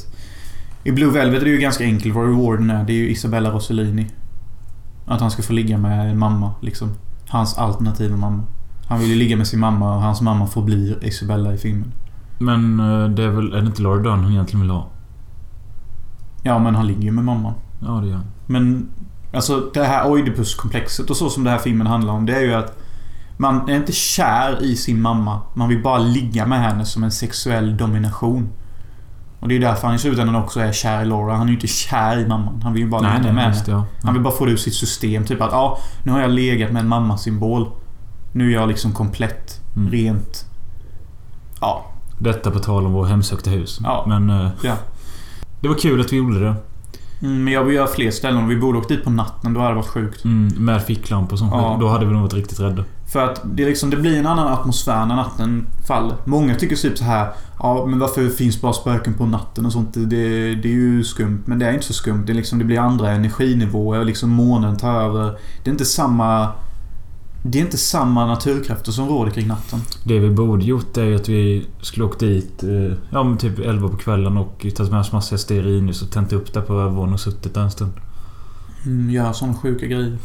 C: I Blue Velvet är det ju ganska enkelt vad rewarden är. Det är ju Isabella Rossellini. Att han ska få ligga med mamma, liksom. Hans alternativa mamma. Han vill ju ligga med sin mamma och hans mamma förblir Isabella i filmen.
A: Men eh, det är väl... Är det inte Laura Dern hon egentligen vill ha?
C: Ja, men han ligger ju med mamman.
A: Ja, det gör han.
C: Men alltså det här Oidipus-komplexet och så som den här filmen handlar om. Det är ju att man är inte kär i sin mamma. Man vill bara ligga med henne som en sexuell domination. Och det är därför han i slutändan också är kär i Laura. Han är ju inte kär i mamman. Han vill ju bara ligga med henne.
A: visst, ja.
C: Han vill bara få det ur sitt system. Typ att ja, nu har jag legat med en mammasymbol. Nu är jag liksom komplett.
A: Mm.
C: Rent. Ja,
A: Detta på tal om vår hemsökta hus.
C: Ja.
A: Men... eh,
C: Ja.
A: Det var kul att vi gjorde det.
C: Mm, men jag vill göra fler ställen. Vi borde åkt dit på natten. Då hade det varit sjukt.
A: Mm, med ficklampor och sånt.
C: Ja.
A: Då hade vi nog varit riktigt rädda.
C: För att det, är liksom, det blir en annan atmosfär när natten faller. Många tycker typ så här Ja, men varför finns bara spöken på natten och sånt? Det, det, det är ju skumt. Men det är inte så skumt. Det, är liksom, det blir andra energinivåer. Liksom månen tar över. Det är inte samma... Det är inte samma naturkrafter som råder kring natten.
A: Det vi borde gjort är ju att vi skulle åkt dit eh, ja, men typ 11 på kvällen och tagit med oss massa stearinljus och tänt upp där på övervåningen och suttit där en stund.
C: Mm, gör såna sjuka grejer.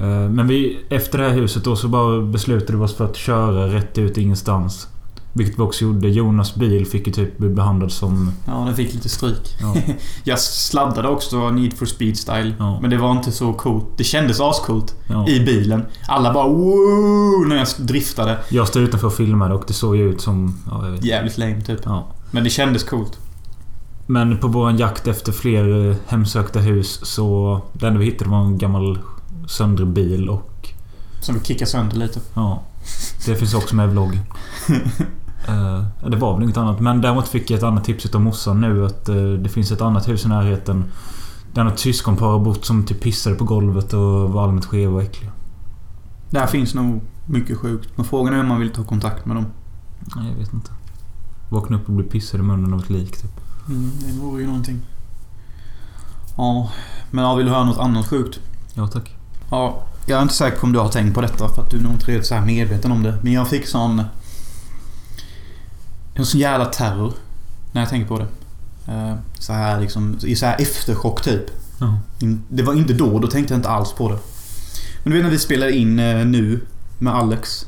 A: Eh, Men vi, efter det här huset då så bara beslutade vi oss för att köra rätt ut ingenstans. Vilket vi också gjorde. Jonas bil fick ju typ bli behandlad som...
B: Ja, den fick lite stryk.
A: Ja.
B: jag sladdade också Need for Speed Style.
A: Ja.
B: Men det var inte så coolt. Det kändes ascoolt
A: Ja.
B: i bilen. Alla bara wow när jag driftade.
A: Jag stod utanför och filmade och det såg ju ut som... Ja, jag vet.
B: Jävligt lame typ.
A: Ja.
B: Men det kändes coolt.
A: Men på vår jakt efter fler eh, hemsökta hus så... Det enda vi hittade var en gammal söndrig bil och...
B: Som vi kickade sönder lite.
A: Ja. Det finns också med i vloggen. Eh, ja, det var väl inget annat. Men däremot fick jag ett annat tips utav morsan nu att eh, det finns ett annat hus i närheten. Där något syskonpar har bott som typ pissade på golvet och var allmänt skeva och äckliga.
B: Där finns nog mycket sjukt. Men frågan är om man vill ta kontakt med dem.
A: Nej, jag vet inte. Vakna upp och bli pissad i munnen av ett lik typ.
B: Mm, det vore ju någonting. Ja, men ja, vill du höra något annat sjukt?
A: Ja, tack.
B: Ja, jag är inte säker på om du har tänkt på detta för att du är nog inte riktigt så här medveten om det. Men jag fick sån... En sån jävla terror när jag tänker på det. Eh, Så här liksom, i så här efterchock typ.
A: Ja.
B: In- Det var inte då, då tänkte jag inte alls på det. Men du vet när vi spelar in eh, nu med Alex.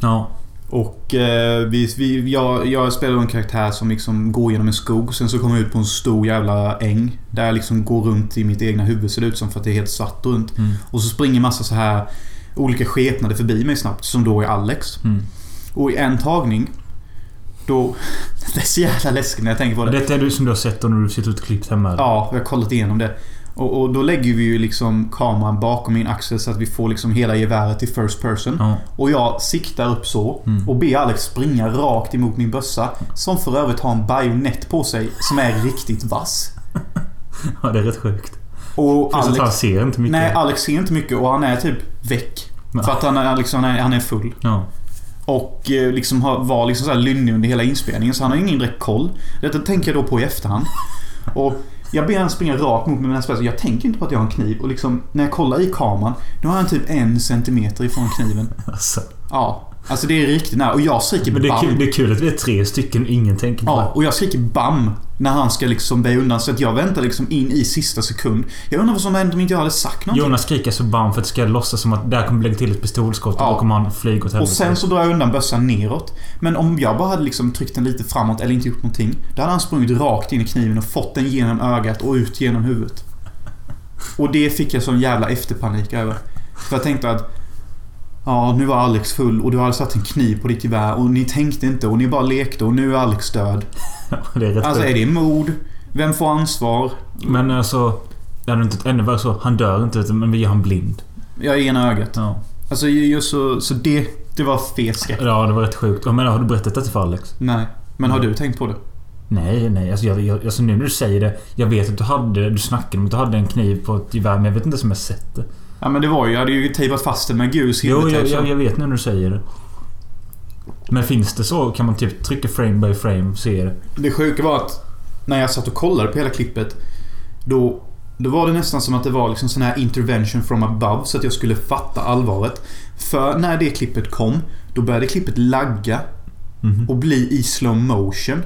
A: Ja.
B: Och eh, vi, vi, jag, jag spelar en karaktär som liksom går genom en skog. Sen så kommer jag ut på en stor jävla äng. Där jag liksom går runt i mitt egna huvud ser det ut som för att det är helt svart runt.
A: Mm.
B: Och så springer massa så här olika skepnader förbi mig snabbt. Som då är Alex.
A: Mm.
B: Och i en tagning. Då... Det är så jävla läskigt när jag tänker på det.
A: Detta är du som du har sett och när du sitter och klippt hemma?
B: Ja, vi har kollat igenom det. Och, och då lägger vi ju liksom kameran bakom min axel så att vi får liksom hela geväret i first person.
A: Ja.
B: Och jag siktar upp så
A: Mm.
B: och ber Alex springa rakt emot min bössa. Som för övrigt har en bajonett på sig som är riktigt vass.
A: Ja, det är rätt sjukt.
B: Och
A: Plus att han
B: Alex...
A: ser inte mycket.
B: Nej, Alex ser inte mycket och han är typ väck.
A: Ja.
B: För att han är, liksom, han är, han är full.
A: Ja.
B: Och eh, liksom har, var liksom så här lynnig under hela inspelningen så han har ingen direkt koll. Detta tänker jag då på i efterhand. Och jag ber han springa rakt mot mig med den här spetsen. Jag tänker inte på att jag har en kniv och liksom när jag kollar i kameran. Nu har han typ en centimeter ifrån kniven.
A: Alltså.
B: Ja. Alltså det är riktigt nära. Och jag skriker
A: Men det är,
B: bam.
A: kul, det är kul att vi är tre stycken ingen tänker på
B: Ja, och jag skriker BAM när han ska liksom böja undan. Så att jag väntar liksom in i sista sekund. Jag undrar vad som hände om inte jag hade sagt
A: det.
B: någonting.
A: Jonas skriker så bam för att det ska låtsas som att där kommer lägga till ett pistolskott och
B: Ja.
A: då kommer han flyga åt
B: Och
A: helvete.
B: sen så drar jag undan bössan neråt. Men om jag bara hade liksom tryckt den lite framåt eller inte gjort någonting. Då hade han sprungit rakt in i kniven och fått den genom ögat och ut genom huvudet. Och det fick jag sån jävla efterpanik över. För jag tänkte att... Ja, nu var Alex full och du hade satt en kniv på ditt gevär och ni tänkte inte och ni bara lekte och nu är Alex död.
A: det är rätt
B: Alltså är
A: sjukt.
B: det mord? Vem får ansvar?
A: Men alltså... Det hade inte varit ännu värre så. Han dör inte utan- men vi gör han blind.
B: Jag är ena ögat.
A: Ja.
B: Alltså just så, så det, det var fet skräck.
A: Ja, det var rätt sjukt. Jag menar, har du berättat detta för Alex?
B: Nej. Men har du tänkt på det?
A: Nej, nej. Alltså, jag, jag, alltså nu när du säger det. Jag vet att du hade... Du snackade om att du hade en kniv på ett gevär men jag vet inte ens om jag sett det.
B: Ja men det var ju, jag hade ju tejpat fast det med gul
A: Jo,
B: silvertejp.
A: jag, jag,
B: så-
A: jag vet nu när du säger det. Men finns det så? Kan man typ trycka frame by frame och se det?
B: Det sjuka var att när jag satt och kollade på hela klippet. Då, då var det nästan som att det var liksom sån här intervention from above så att jag skulle fatta allvaret. För när det klippet kom, då började klippet lagga
A: Mhm.
B: och bli i slow motion.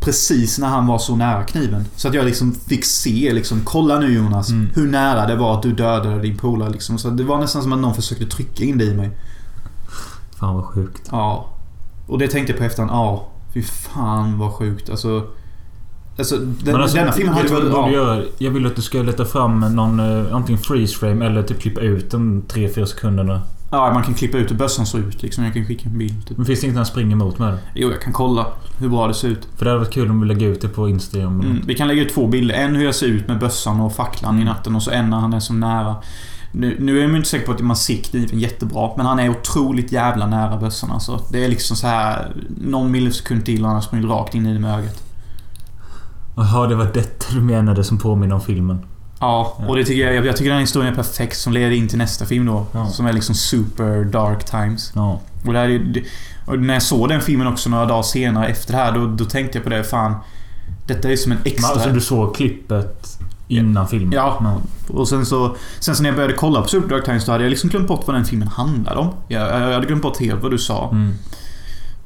B: Precis när han var så nära kniven. Så att jag liksom fick se liksom, kolla nu Jonas,
A: Mm.
B: hur nära det var att du dödade din polare liksom. Så det var nästan som att någon försökte trycka in det i mig.
A: Fan vad sjukt.
B: Ja. Och det tänkte jag på i efterhand, ja. Fy fan vad sjukt. Alltså... Alltså, den,
A: Men alltså,
B: denna filmen
A: vet
B: hade
A: du vad
B: varit
A: du
B: bra.
A: borde göra? Jag vill att du ska leta fram någon... eh, Antingen freeze frame eller typ klippa ut de 3-4 sekunderna.
B: Ja, man kan klippa ut hur bössan såg ut liksom. Jag kan skicka en bild. Typ.
A: Men finns det inget han springer emot med det?
B: Jo, jag kan kolla hur bra det ser ut.
A: För det hade varit kul om vi lägger ut det på Instagram.
B: Mm. Vi kan lägga ut två bilder. En hur jag ser ut med bössan och facklan i natten och så en när han är som nära. Nu, nu är jag ju inte säker på att man ser kniven jättebra, men han är otroligt jävla nära bössan alltså. Det är liksom så här någon millisekund till och han har sprungit rakt in i det med ögat.
A: Jaha, det var detta du menade som påminner om filmen.
B: Ja,
A: Ja.
B: och det tycker jag, jag, jag tycker den här historien är perfekt som leder in till nästa film då.
A: Ja.
B: Som är liksom super dark times.
A: Ja.
B: Och, det här är, ju- det- och när jag såg den filmen också några dagar senare efter det här, då, då tänkte jag på det. Fan, detta är ju som en
A: Men
B: extra...
A: alltså du såg klippet innan filmen?
B: Ja. Och sen så... Sen så när jag började kolla på Super Dark Times, då hade jag liksom glömt bort vad den filmen handlade om. Jag, jag hade glömt bort helt vad du sa.
A: Mm.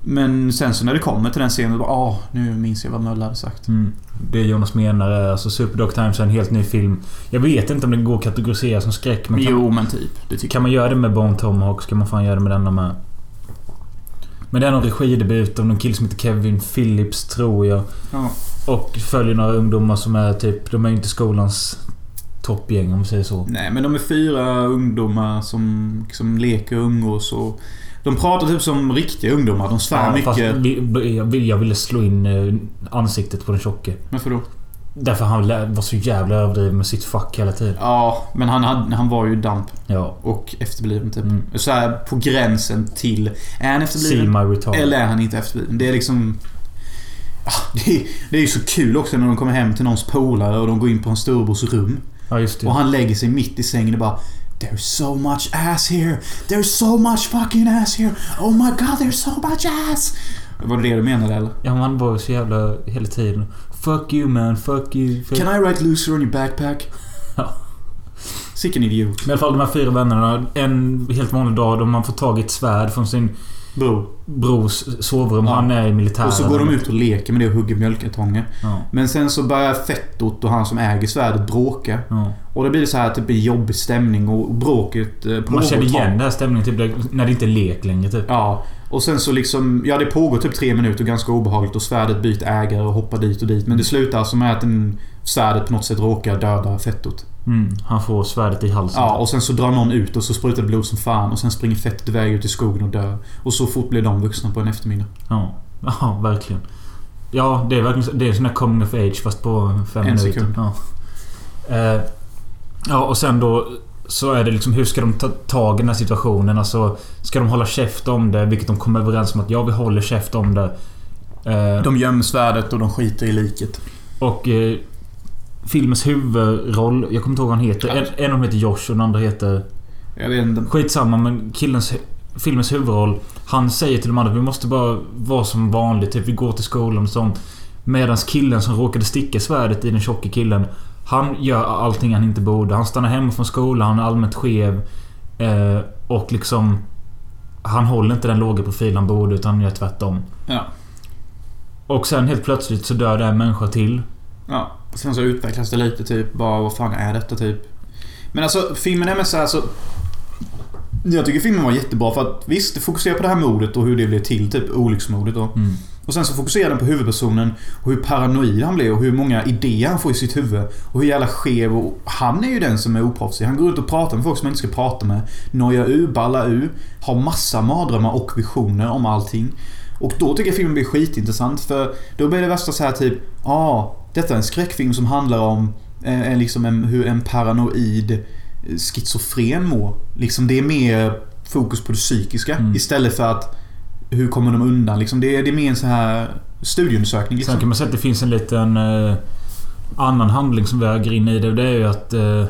B: Men sen så när det kommer till den scenen, då bara, ah, nu minns jag vad Möller hade sagt.
A: Mm. Det Jonas menar är alltså Superdog Times är en helt ny film. Jag vet inte om den går att kategorisera som skräck men kan,
B: jo, men typ. Det tycker
A: kan man göra det med Bone Tomahawk ska man fan göra det med denna med. Men det är någon regidebut av någon kille som heter Kevin Phillips, tror jag.
B: Ja.
A: Och följer några ungdomar som är typ... De är ju inte skolans toppgäng om vi säger så.
B: Nej, men de är fyra ungdomar som liksom leker och umgås och... De pratar typ som riktiga ungdomar. De svär
A: Ja, fast
B: mycket.
A: vi- jag vill- Jag ville slå in eh, ansiktet på den tjocke.
B: Varför då?
A: Därför han lä- var så jävla överdriven med sitt fuck hela tiden.
B: Ja, men han, hade, han var ju damp.
A: Ja.
B: Och efterbliven typ.
A: Mm.
B: Så här på gränsen till... Är han
A: See
B: efterbliven?
A: my retard.
B: Eller är han inte efterbliven? Det är liksom... Ah, Det är, det är ju så kul också när de kommer hem till någons polare och de går in på en storebrors rum.
A: Ja, just det.
B: Och han lägger sig mitt i sängen och bara There's so much ass here! There's so much fucking ass here! Oh my god, there's so much ass! Var det det du menade eller?
A: Ja, men han var ju så jävla hela tiden. Fuck you man, fuck you. Fuck...
B: Can I write loser on your backpack?
A: Ja.
B: Sicken idiot.
A: Men i alla fall de här fyra vännerna. En helt vanlig dag då man får tag i ett svärd från sin
B: Bro.
A: brors sovrum.
B: Ja.
A: Han är i militären.
B: Och så går de ut och leker med det och hugger mjölkartonger.
A: Ja.
B: Men sen så börjar Fettot och han som äger svärdet bråka.
A: Ja.
B: Och det blir så här typ en jobbig stämning och bråket eh, pågår
A: Man känner
B: ett tag.
A: igen den här stämningen typ, där- när det inte är lek längre. Typ.
B: Ja. Och sen så liksom, ja det pågår typ tre minuter ganska obehagligt och svärdet byter ägare och hoppar dit och dit. Men det slutar alltså med att den, svärdet på något sätt råkar döda Fettot.
A: Mm, han får svärdet i halsen.
B: Ja, och sen så drar någon ut och så sprutar det blod som fan och sen springer Fettot iväg ut i skogen och dör. Och så fort blir de vuxna på en eftermiddag.
A: Ja, ja verkligen. Ja, det är verkligen så- det är en sån här coming of age fast på fem
B: En
A: minuter.
B: sekund.
A: Ja. Eh, ja, och sen då så är det liksom hur ska de ta tag i den här situationen? Alltså, ska de hålla käft om det? Vilket de kommer överens om att ja, vi håller käft om det. Eh,
B: De gömmer svärdet och de skiter i liket.
A: och eh, filmens huvudroll, jag kommer inte ihåg vad han heter. En, en av dem heter Josh och den andra heter...
B: Jag vet inte.
A: Skitsamma men killens... hu- Filmens huvudroll. Han säger till de andra vi måste bara vara som vanligt. Typ vi går till skolan och sånt. Medan killen som råkade sticka svärdet i den tjocka killen. Han gör allting han inte borde. Han stannar hemma från skolan. Han är allmänt skev. Eh, och liksom... Han håller inte den låga profil han borde utan han gör tvärtom.
B: Ja.
A: Och sen helt plötsligt så dör det en människa till.
B: Ja. Sen så utvecklas det lite typ. Bara vad fan är detta typ? Men alltså filmen är med så här så... Jag tycker filmen var jättebra för att visst, det fokuserar på det här mordet och hur det blev till. Typ olycksmordet då.
A: Mm.
B: Och sen så fokuserar den på huvudpersonen och hur paranoid han blir och hur många idéer han får i sitt huvud. Och hur jävla skev och... Han är ju den som är oproffsig. Han går runt och pratar med folk som han inte ska prata med. Nojar ur, ballar ur. Har massa mardrömmar och visioner om allting. Och då tycker jag filmen blir skitintressant för då blir det värsta så här typ Ja, ah, detta är en skräckfilm som handlar om eh, en- liksom en, hur en paranoid eh, schizofren mår. Liksom det är mer fokus på det psykiska istället för att hur kommer de undan? Liksom, det, är, det är mer en så här studieundersökning. Liksom.
A: Sen kan man säga att det finns en liten eh, annan handling som väger in i det. och Det är ju att eh,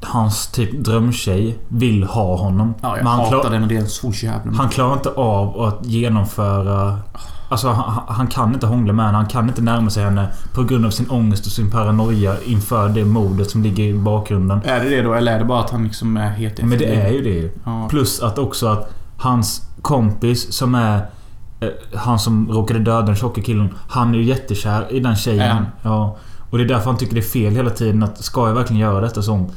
A: hans typ drömtjej vill ha honom.
B: ja, jag
A: men han,
B: hatar
A: klar,
B: den och det Mm. är en så jävla...
A: han klarar inte av att genomföra... Alltså han, han kan inte hångla med henne. Han kan inte närma sig henne på grund av sin ångest och sin paranoia inför det mordet som ligger i bakgrunden.
B: Är det det då? Eller är det bara att han liksom är helt
A: Men det
B: efterbliven?
A: är ju det ju.
B: Ja.
A: Plus att också att hans kompis som är... eh, Han som råkade döda den tjocka killen. Han är ju jättekär i den
B: Är
A: tjejen.
B: han?
A: Ja. Och det är därför han tycker det är fel hela tiden. att Ska jag verkligen göra detta och sånt?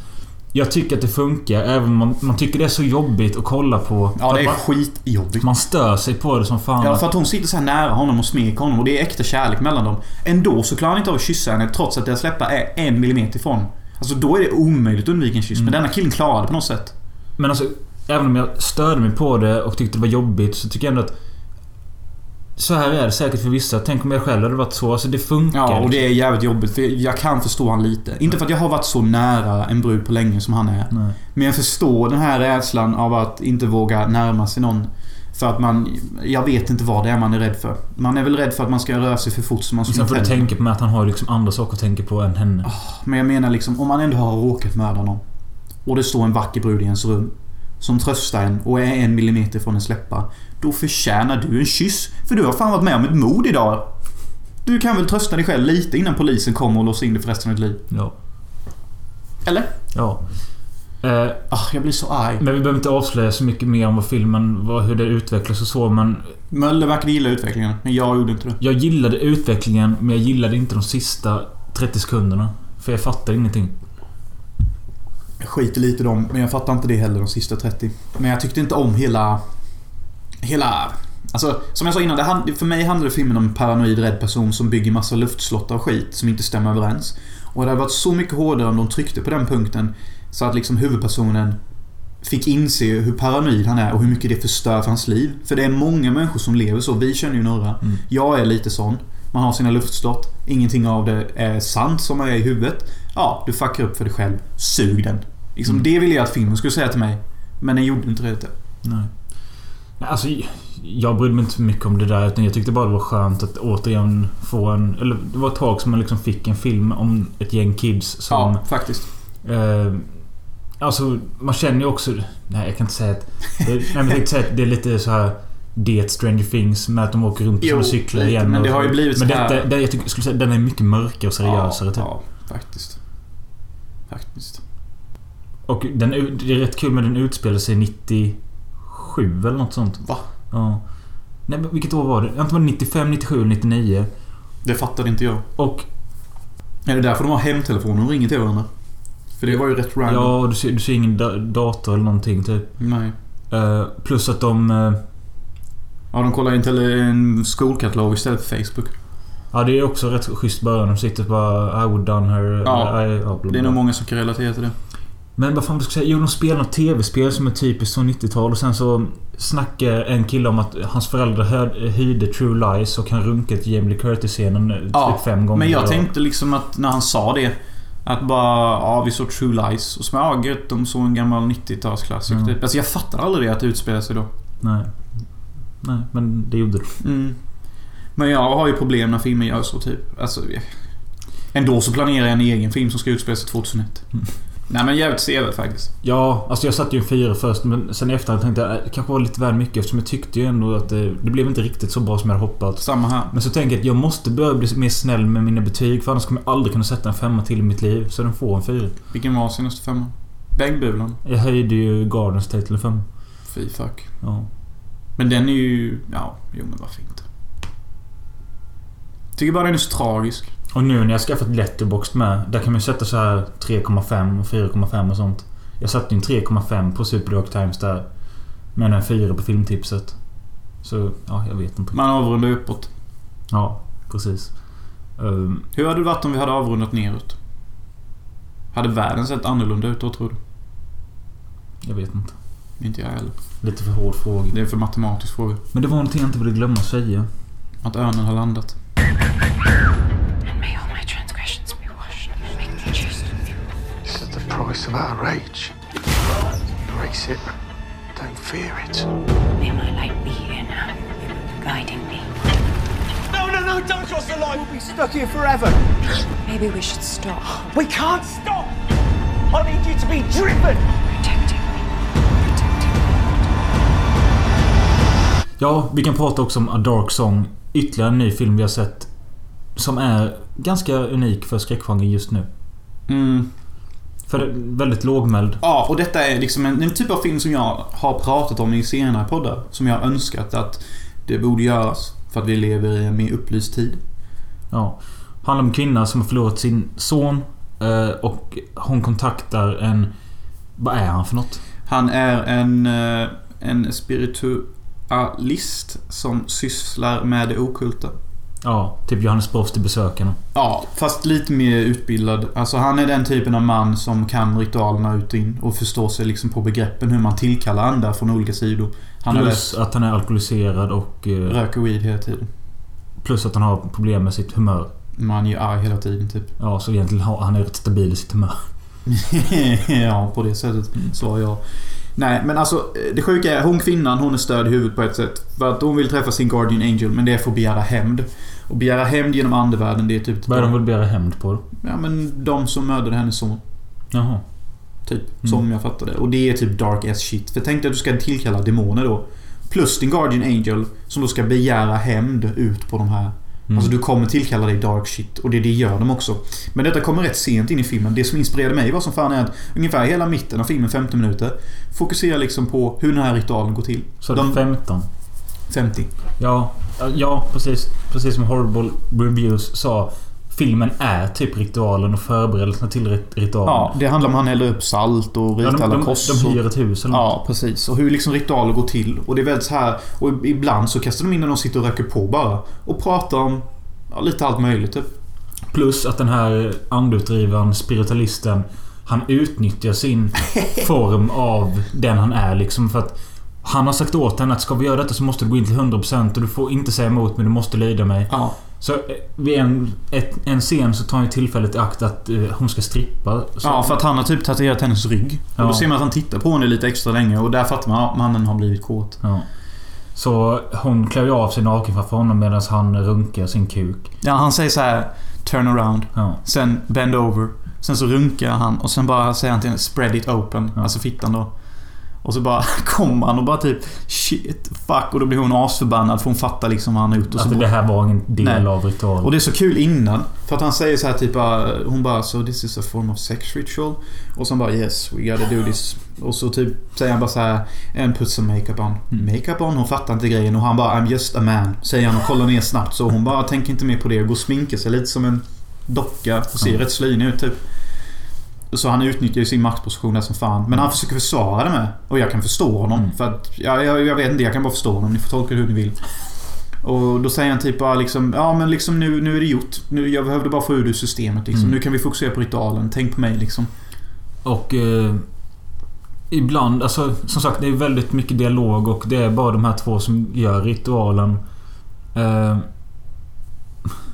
A: Jag tycker att det funkar. Även om man, man tycker det är så jobbigt att kolla på.
B: Ja,
A: För
B: det är
A: att
B: skitjobbigt.
A: man, man stör sig på det som fan.
B: Ja, för att hon sitter så här nära honom och smeker honom och det är äkta kärlek mellan dem. Ändå så klarar han inte av att kyssa henne trots att deras läppar är en millimeter ifrån. Alltså då är det omöjligt att undvika en kyss. Men
A: Mm.
B: denna killen klarar det på något sätt.
A: Men alltså, även om jag störde mig på det och tyckte det var jobbigt så tycker jag ändå att... Så här är det säkert för vissa. Tänk om jag själv hade varit så. Alltså det funkar.
B: Ja, och det är jävligt jobbigt. För jag kan förstå han lite. Inte för att jag har varit så nära en brud på länge som han är.
A: liksom. Nej.
B: Men jag förstår den här rädslan av att inte våga närma sig någon. För att man... Jag vet inte vad det är man är rädd för. Man är väl rädd för att man ska röra sig för fort så man
A: Och sen får
B: slår
A: du
B: tänderna.
A: tänka på med att han har liksom andra saker att tänka på än henne.
B: Men jag menar liksom, om man ändå har råkat mörda någon. Och det står en vacker brud i ens rum. Som tröstar en och är en millimeter från ens läppar. Då förtjänar du en kyss. För du har fan varit med om ett mord idag. Du kan väl trösta dig själv lite innan polisen kommer och låser in dig för resten av ditt liv.
A: Ja.
B: Eller?
A: ja. Eh,
B: Ah, jag blir så arg.
A: men vi behöver inte avslöja så mycket mer om vad filmen, vad, hur det utvecklas och så men...
B: Möller verkade gilla utvecklingen, men jag gjorde inte det.
A: Jag gillade utvecklingen men jag gillade inte de sista 30 sekunderna. För jag fattar ingenting.
B: Jag skiter lite i dem, men jag fattar inte det heller de sista 30. Men jag tyckte inte om hela... Hela Alltså, som jag sa innan, det hand, för mig handlade filmen om en paranoid rädd person som bygger massa luftslottar och skit som inte stämmer överens. Och det hade varit så mycket hårdare om de tryckte på den punkten så att liksom huvudpersonen fick inse hur paranoid han är och hur mycket det förstör för hans liv. För det är många människor som lever så. Vi känner ju några.
K: Mm.
B: Jag är lite sån. Man har sina luftslott. Ingenting av det är sant som är i huvudet. Ja, du fuckar upp för dig själv. Sug den. Liksom, Det ville jag att filmen skulle säga till mig. Men den gjorde inte det.
A: Nej. Nej, Alltså, jag brydde mig inte så mycket om det där. Utan jag tyckte bara det var skönt att återigen få en... Eller det var ett tag som man liksom fick en film om ett gäng kids som...
B: Ja, faktiskt.
A: Eh, alltså, man känner ju också... Nej, jag kan inte säga att... Det, nej, men jag tänkte säga att det är lite så här... Det Stranger Things med att de åker runt på sina
B: Jo,
A: cyklar
B: lite,
A: igen.
B: men
A: och-
B: det har ju blivit
A: Men
B: så här-
A: detta, det, jag tycker, skulle säga, den är mycket mörkare och seriösare. typ.
B: Ja, faktiskt. Faktiskt.
A: Och den, ut- det är rätt kul men den utspelar sig 97 eller något sånt.
B: Va?
A: Ja. Nej, men vilket år var det? Antingen var det 95, 97 eller 99.
B: Det fattade inte jag.
A: Och...
B: Är det därför de har hemtelefoner och ringer till varandra? För det var ju rätt random.
A: Ja, du ser, du ser ingen da- dator eller någonting typ.
B: Nej.
A: Eh, plus att de... eh,
B: Ja, de kollar inte en skolkatalog istället för Facebook.
A: ja, det är också rätt schysst början. De sitter bara I would done her.
B: Ja,
A: eller, I, ja, bla,
B: Det
A: bla.
B: är nog många som kan relatera till det.
A: Men vad fan du ska säga? Jo, de spelar något tv-spel som är typiskt från 90-tal och sen så snackar en kille om att hans föräldrar hör- hyrde True Lies och han runkat Jamie Lee Curtis-scenen eh, typ fem gånger.
B: men jag
A: Och-
B: tänkte liksom att när han sa det. Att bara, ja vi såg True Lies. Och som ja gött, de såg en gammal 90-talsklassiker
A: Ja.
B: typ. Alltså jag fattar aldrig det att det utspelar sig då.
A: Nej. Nej, men det gjorde det.
B: Mm. Men jag har ju problem när filmer gör så typ. Alltså, jag- ändå så planerar jag en egen film som ska utspela sig 2001.
A: Mm.
B: Nej men jävligt sevärd faktiskt.
A: Ja, alltså jag satte ju en fyra först men sen i efterhand tänkte jag eh, det kanske var lite väl mycket eftersom jag tyckte ju ändå att det, det blev inte riktigt så bra som jag hade hoppats.
B: Samma här.
A: Men så tänker jag att jag måste börja bli mer snäll med mina betyg för annars kommer jag aldrig kunna sätta en femma till i mitt liv. Så den får en fyra.
B: Vilken var senaste femma? Bäggbulan.
A: Jag höjde ju Gardens till en femma.
B: Fy fuck.
A: Ja.
B: Men den är ju... Ja, jo men varför inte. Tycker bara den är så tragisk.
A: Och nu när jag har skaffat Letterboxd med. Där kan man ju sätta så här 3,5 och 4,5 och sånt. Jag satte ju en 3,5 på Super Dark Times där. Men en fyra på filmtipset. Så, ja, jag vet inte.
B: Man avrundar uppåt.
A: Ja, precis. Ehm,
B: Hur hade det varit om vi hade avrundat neråt? Hade världen sett annorlunda ut då tror du?
A: jag vet inte.
B: Inte jag heller.
A: Lite för hård fråga.
B: Det är för matematisk fråga.
A: Men det var någonting jag inte ville glömma att säga.
B: Att örnen har landat.
G: And may all my transgressions be washed. Make me just.
L: This is the price of our rage. Embrace it. Don't fear it.
G: May my light be here now, guiding me. No, no, no, don't cross the line. We'll be stuck here forever. Maybe we should stop. We can't stop. I need you to be driven.
A: Ja, vi kan prata också om A Dark Song. Ytterligare en ny film vi har sett. Som är ganska unik för skräckgenren just nu.
B: Mm.
A: För det är väldigt lågmäld.
B: Ja, och detta är liksom en, en typ av film som jag har pratat om i senare poddar. Som jag har önskat att det borde göras. För att vi lever i en mer upplyst tid.
A: Ja. Handlar om en kvinna som har förlorat sin son. eh, Och hon kontaktar en... Vad är han för något?
B: Han är en, eh, en spiritualist som sysslar med det okulta.
A: Ja, typ Johannes Brost till besökarna.
B: Ja, fast lite mer utbildad. Alltså han är den typen av man som kan ritualerna ut och in och förstår sig liksom på begreppen hur man tillkallar andra från olika sidor. Han har läst
A: Plus att han är alkoholiserad och... eh,
B: röker weed hela tiden.
A: Plus att han har problem med sitt humör.
B: Man är ju arg hela tiden typ.
A: Ja, så egentligen har han är rätt stabil i sitt humör.
B: ja, på det sättet
A: Mm.
B: svarar jag. Nej, men alltså det sjuka är hon kvinnan, hon är störd i huvudet på ett sätt. För att hon vill träffa sin Guardian Angel, men det är för att begära hämnd. Och begära hämnd genom andevärlden, det är typ...
A: Vad är de väl begära hämnd på då?
B: Ja, men de som mördade hennes son.
A: Jaha.
B: Typ,
A: Mm.
B: som jag fattade. Och det är typ dark as shit. För tänk dig att du ska tillkalla demoner då. Plus din Guardian Angel, som då ska begära hämnd ut på de här.
A: Mm.
B: Alltså du kommer tillkalla dig dark shit och det, det gör de också. Men detta kommer rätt sent in i filmen. Det som inspirerade mig var som fan är att ungefär hela mitten av filmen, 15 minuter, fokuserar liksom på hur den här ritualen går till.
A: Så de...
B: De-
A: 15.
B: 50.
A: Ja, ja precis. Precis som Horrible Reviews sa. filmen är typ ritualen och förberedelserna till rit- ritualen.
B: Ja, det handlar om han häller upp salt och ritar
A: Ja, de-
B: alla
A: de-
B: kors.
A: de
B: och-
A: hyr ett hus eller
B: Ja, precis. Och hur liksom ritualer går till. Och det är väldigt så här... Och ibland så kastar de in när de sitter och röker på bara. Och pratar om ja, lite allt möjligt typ.
A: Plus att den här andutdrivaren, spiritualisten, han utnyttjar sin form av den han är liksom för att han har sagt åt henne att ska vi göra detta så måste du gå in till 100% och du får inte säga emot men du måste lyda mig. Så eh, vid en, ett, en scen så tar han ju tillfället i akt att eh, hon ska strippa. Så
B: Ja, för att han har typ tatuerat hennes rygg. Och
A: Ja.
B: då ser man att han tittar på henne lite extra länge och där fattar man att mannen har blivit kåt.
A: Ja. Så hon klär ju av sig naken framför honom medan han runkar sin kuk. Alltså,
B: Ja, han säger så här Turn around. Sen bend over. Sen så runkar han och sen bara säger han till henne Spread it open. Alltså fittan då. Och så bara kommer han och bara typ Shit, fuck. Och då blir hon asförbannad för hon fattar liksom vad han har gjort. Och så
A: Att det
B: bara-
A: här var ingen del
B: Nej.
A: av ritualen.
B: Och det är så kul innan. För att han säger så här typ ah, Hon bara so this is a form of sex ritual. Och sen bara yes we gotta do this. Och så typ säger han bara så här And put some makeup on. Makeup on? Hon fattar inte grejen. Och han bara I'm just a man. Säger han och kollar ner snabbt. Så hon bara tänker inte mer på det. Går och sminkar sig lite som en docka. Och ser
A: Ja.
B: rätt slynig ut typ. Så han utnyttjar ju sin maktposition där som fan. Men
A: Mm.
B: han försöker försvara det med. Och jag kan förstå honom. För att, ja, jag, jag vet inte, jag kan bara förstå honom. Ni får tolka det hur ni vill. Och då säger han typ bara liksom, ja men liksom nu, nu är det gjort. Nu, jag behövde bara få ur det ur systemet liksom.
A: Mm.
B: Nu kan vi fokusera på ritualen. Tänk på mig liksom.
A: Och eh, ibland, alltså som sagt det är väldigt mycket dialog och det är bara de här två som gör ritualen. Eh,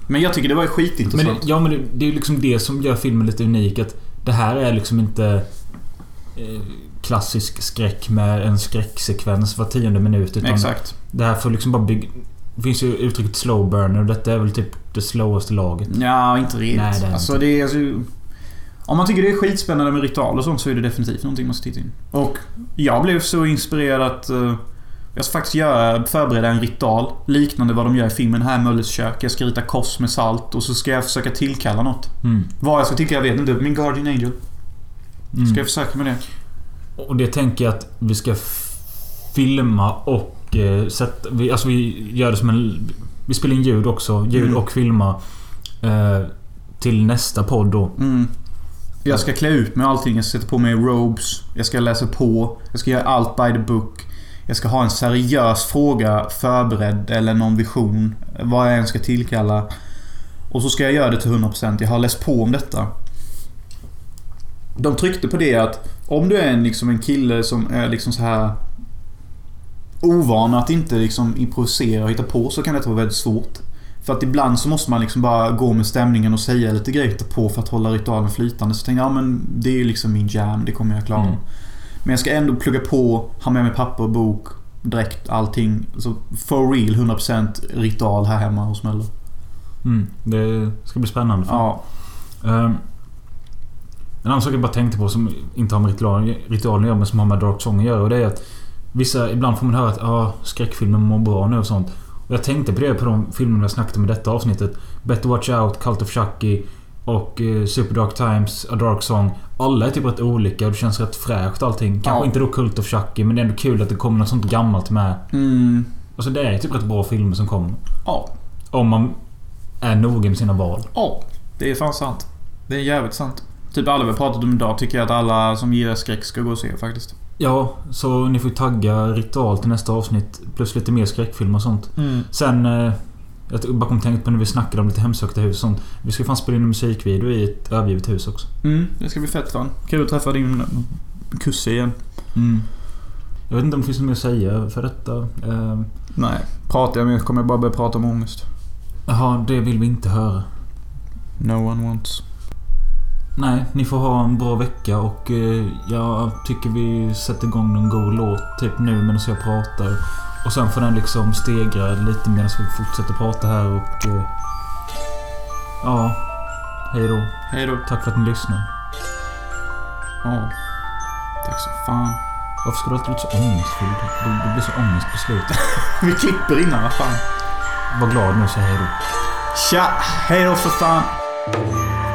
B: Men jag tycker det var ju
A: men,
B: skitintressant.
A: det- ja men det, det är ju liksom det som gör filmen lite unik. Att det här är liksom inte eh, klassisk skräck med en skräcksekvens var tionde minut. Utan
B: Exakt.
A: Det här får liksom bara bygga... Det finns ju uttrycket slow burner och detta är väl typ det slowaste laget.
B: Ja, inte riktigt.
A: Nej, det är
B: alltså,
A: inte.
B: det är, alltså, om man tycker det är skitspännande med ritual och sånt så är det definitivt någonting man ska titta in. Och jag blev så inspirerad att eh, jag ska faktiskt göra, förbereda en ritual liknande vad de gör i filmen här, Möllers kök. Jag ska rita kors med salt och så ska jag försöka tillkalla något.
A: Mm.
B: Vad jag ska tillkalla vet jag inte. Min Guardian Angel. Ska
A: Mm.
B: jag försöka med det?
A: Och det tänker jag att vi ska f- filma och eh, sätta... Vi, alltså vi gör det som en... Vi spelar in ljud också. Ljud
B: Mm.
A: och filma. Eh, till nästa podd då.
B: Mm. Jag ska klä ut mig och allting. Jag ska sätta på mig robes. Jag ska läsa på. Jag ska göra allt by the book. Jag ska ha en seriös fråga förberedd eller någon vision. Vad jag än ska tillkalla. Och så ska jag göra det till 100%. Jag har läst på om detta. De tryckte på det att om du är en, liksom, en kille som är liksom så här ovan att inte liksom improvisera och hitta på så kan det vara väldigt svårt. För att ibland så måste man liksom bara gå med stämningen och säga lite grejer hitta på för att hålla ritualen flytande. Så tänkte jag, ja men det är ju liksom min jam, det kommer jag klara.
A: Mm.
B: Men jag ska ändå plugga på, ha med mig papper och bok, dräkt, allting. Så for real 100% ritual här hemma hos Möller.
A: Mm, det ska bli spännande.
B: Ja.
A: Ehm, en annan sak jag bara tänkte på som inte har med ritualen, ritualen att göra men som har med Dark Song att göra. Och det är att vissa, ibland får man höra att ah, skräckfilmer mår bra nu och sånt. Och jag tänkte på det på de filmerna jag snackade om i detta avsnittet. Better Watch Out, Cult of Chucky och eh, Super Dark Times, A Dark Song. Alla är typ rätt olika och det känns rätt fräscht allting. Kanske
B: Ja.
A: inte då Cult of Chucky men det är ändå kul att det kommer något sånt gammalt med.
B: Mm.
A: Alltså det är typ rätt bra filmer som kommer.
B: Ja.
A: Om man är noga med sina val.
B: Ja, det är fan sant. Det är jävligt sant. Typ alla vi har pratat om idag tycker jag att alla som gillar skräck ska gå och se faktiskt.
A: Ja, så ni får tagga ritual till nästa avsnitt. Plus lite mer skräckfilm och sånt.
B: Mm.
A: Sen... eh, Jag t- bara kom att tänka på när vi snackade om lite hemsökta hus och sånt. Vi ska fan spela in en musikvideo i ett övergivet hus också.
B: Mm, det ska bli fett fan. Kul att träffa din kusse igen.
A: Jag vet inte om det finns något mer att säga för detta. Eh,
B: Nej, pratar jag med kommer jag bara börja prata om ångest.
A: Jaha, det vill vi inte höra.
B: No one wants.
A: Nej, ni får ha en bra vecka och eh, jag tycker vi sätter igång någon god låt typ nu medan jag pratar. Och sen får den liksom stegra lite medan vi fortsätter prata här och... Eh, ja, hej då.
B: Hej då.
A: Tack för att ni lyssnar.
B: Ja. Tack så fan.
A: Varför ska du alltid låta så ångestfylld? Du, du blir så ångest på slutet.
B: vi klipper innan, vad fan.
A: Var glad nu och säg hej då.
B: Tja! Hej då för fan!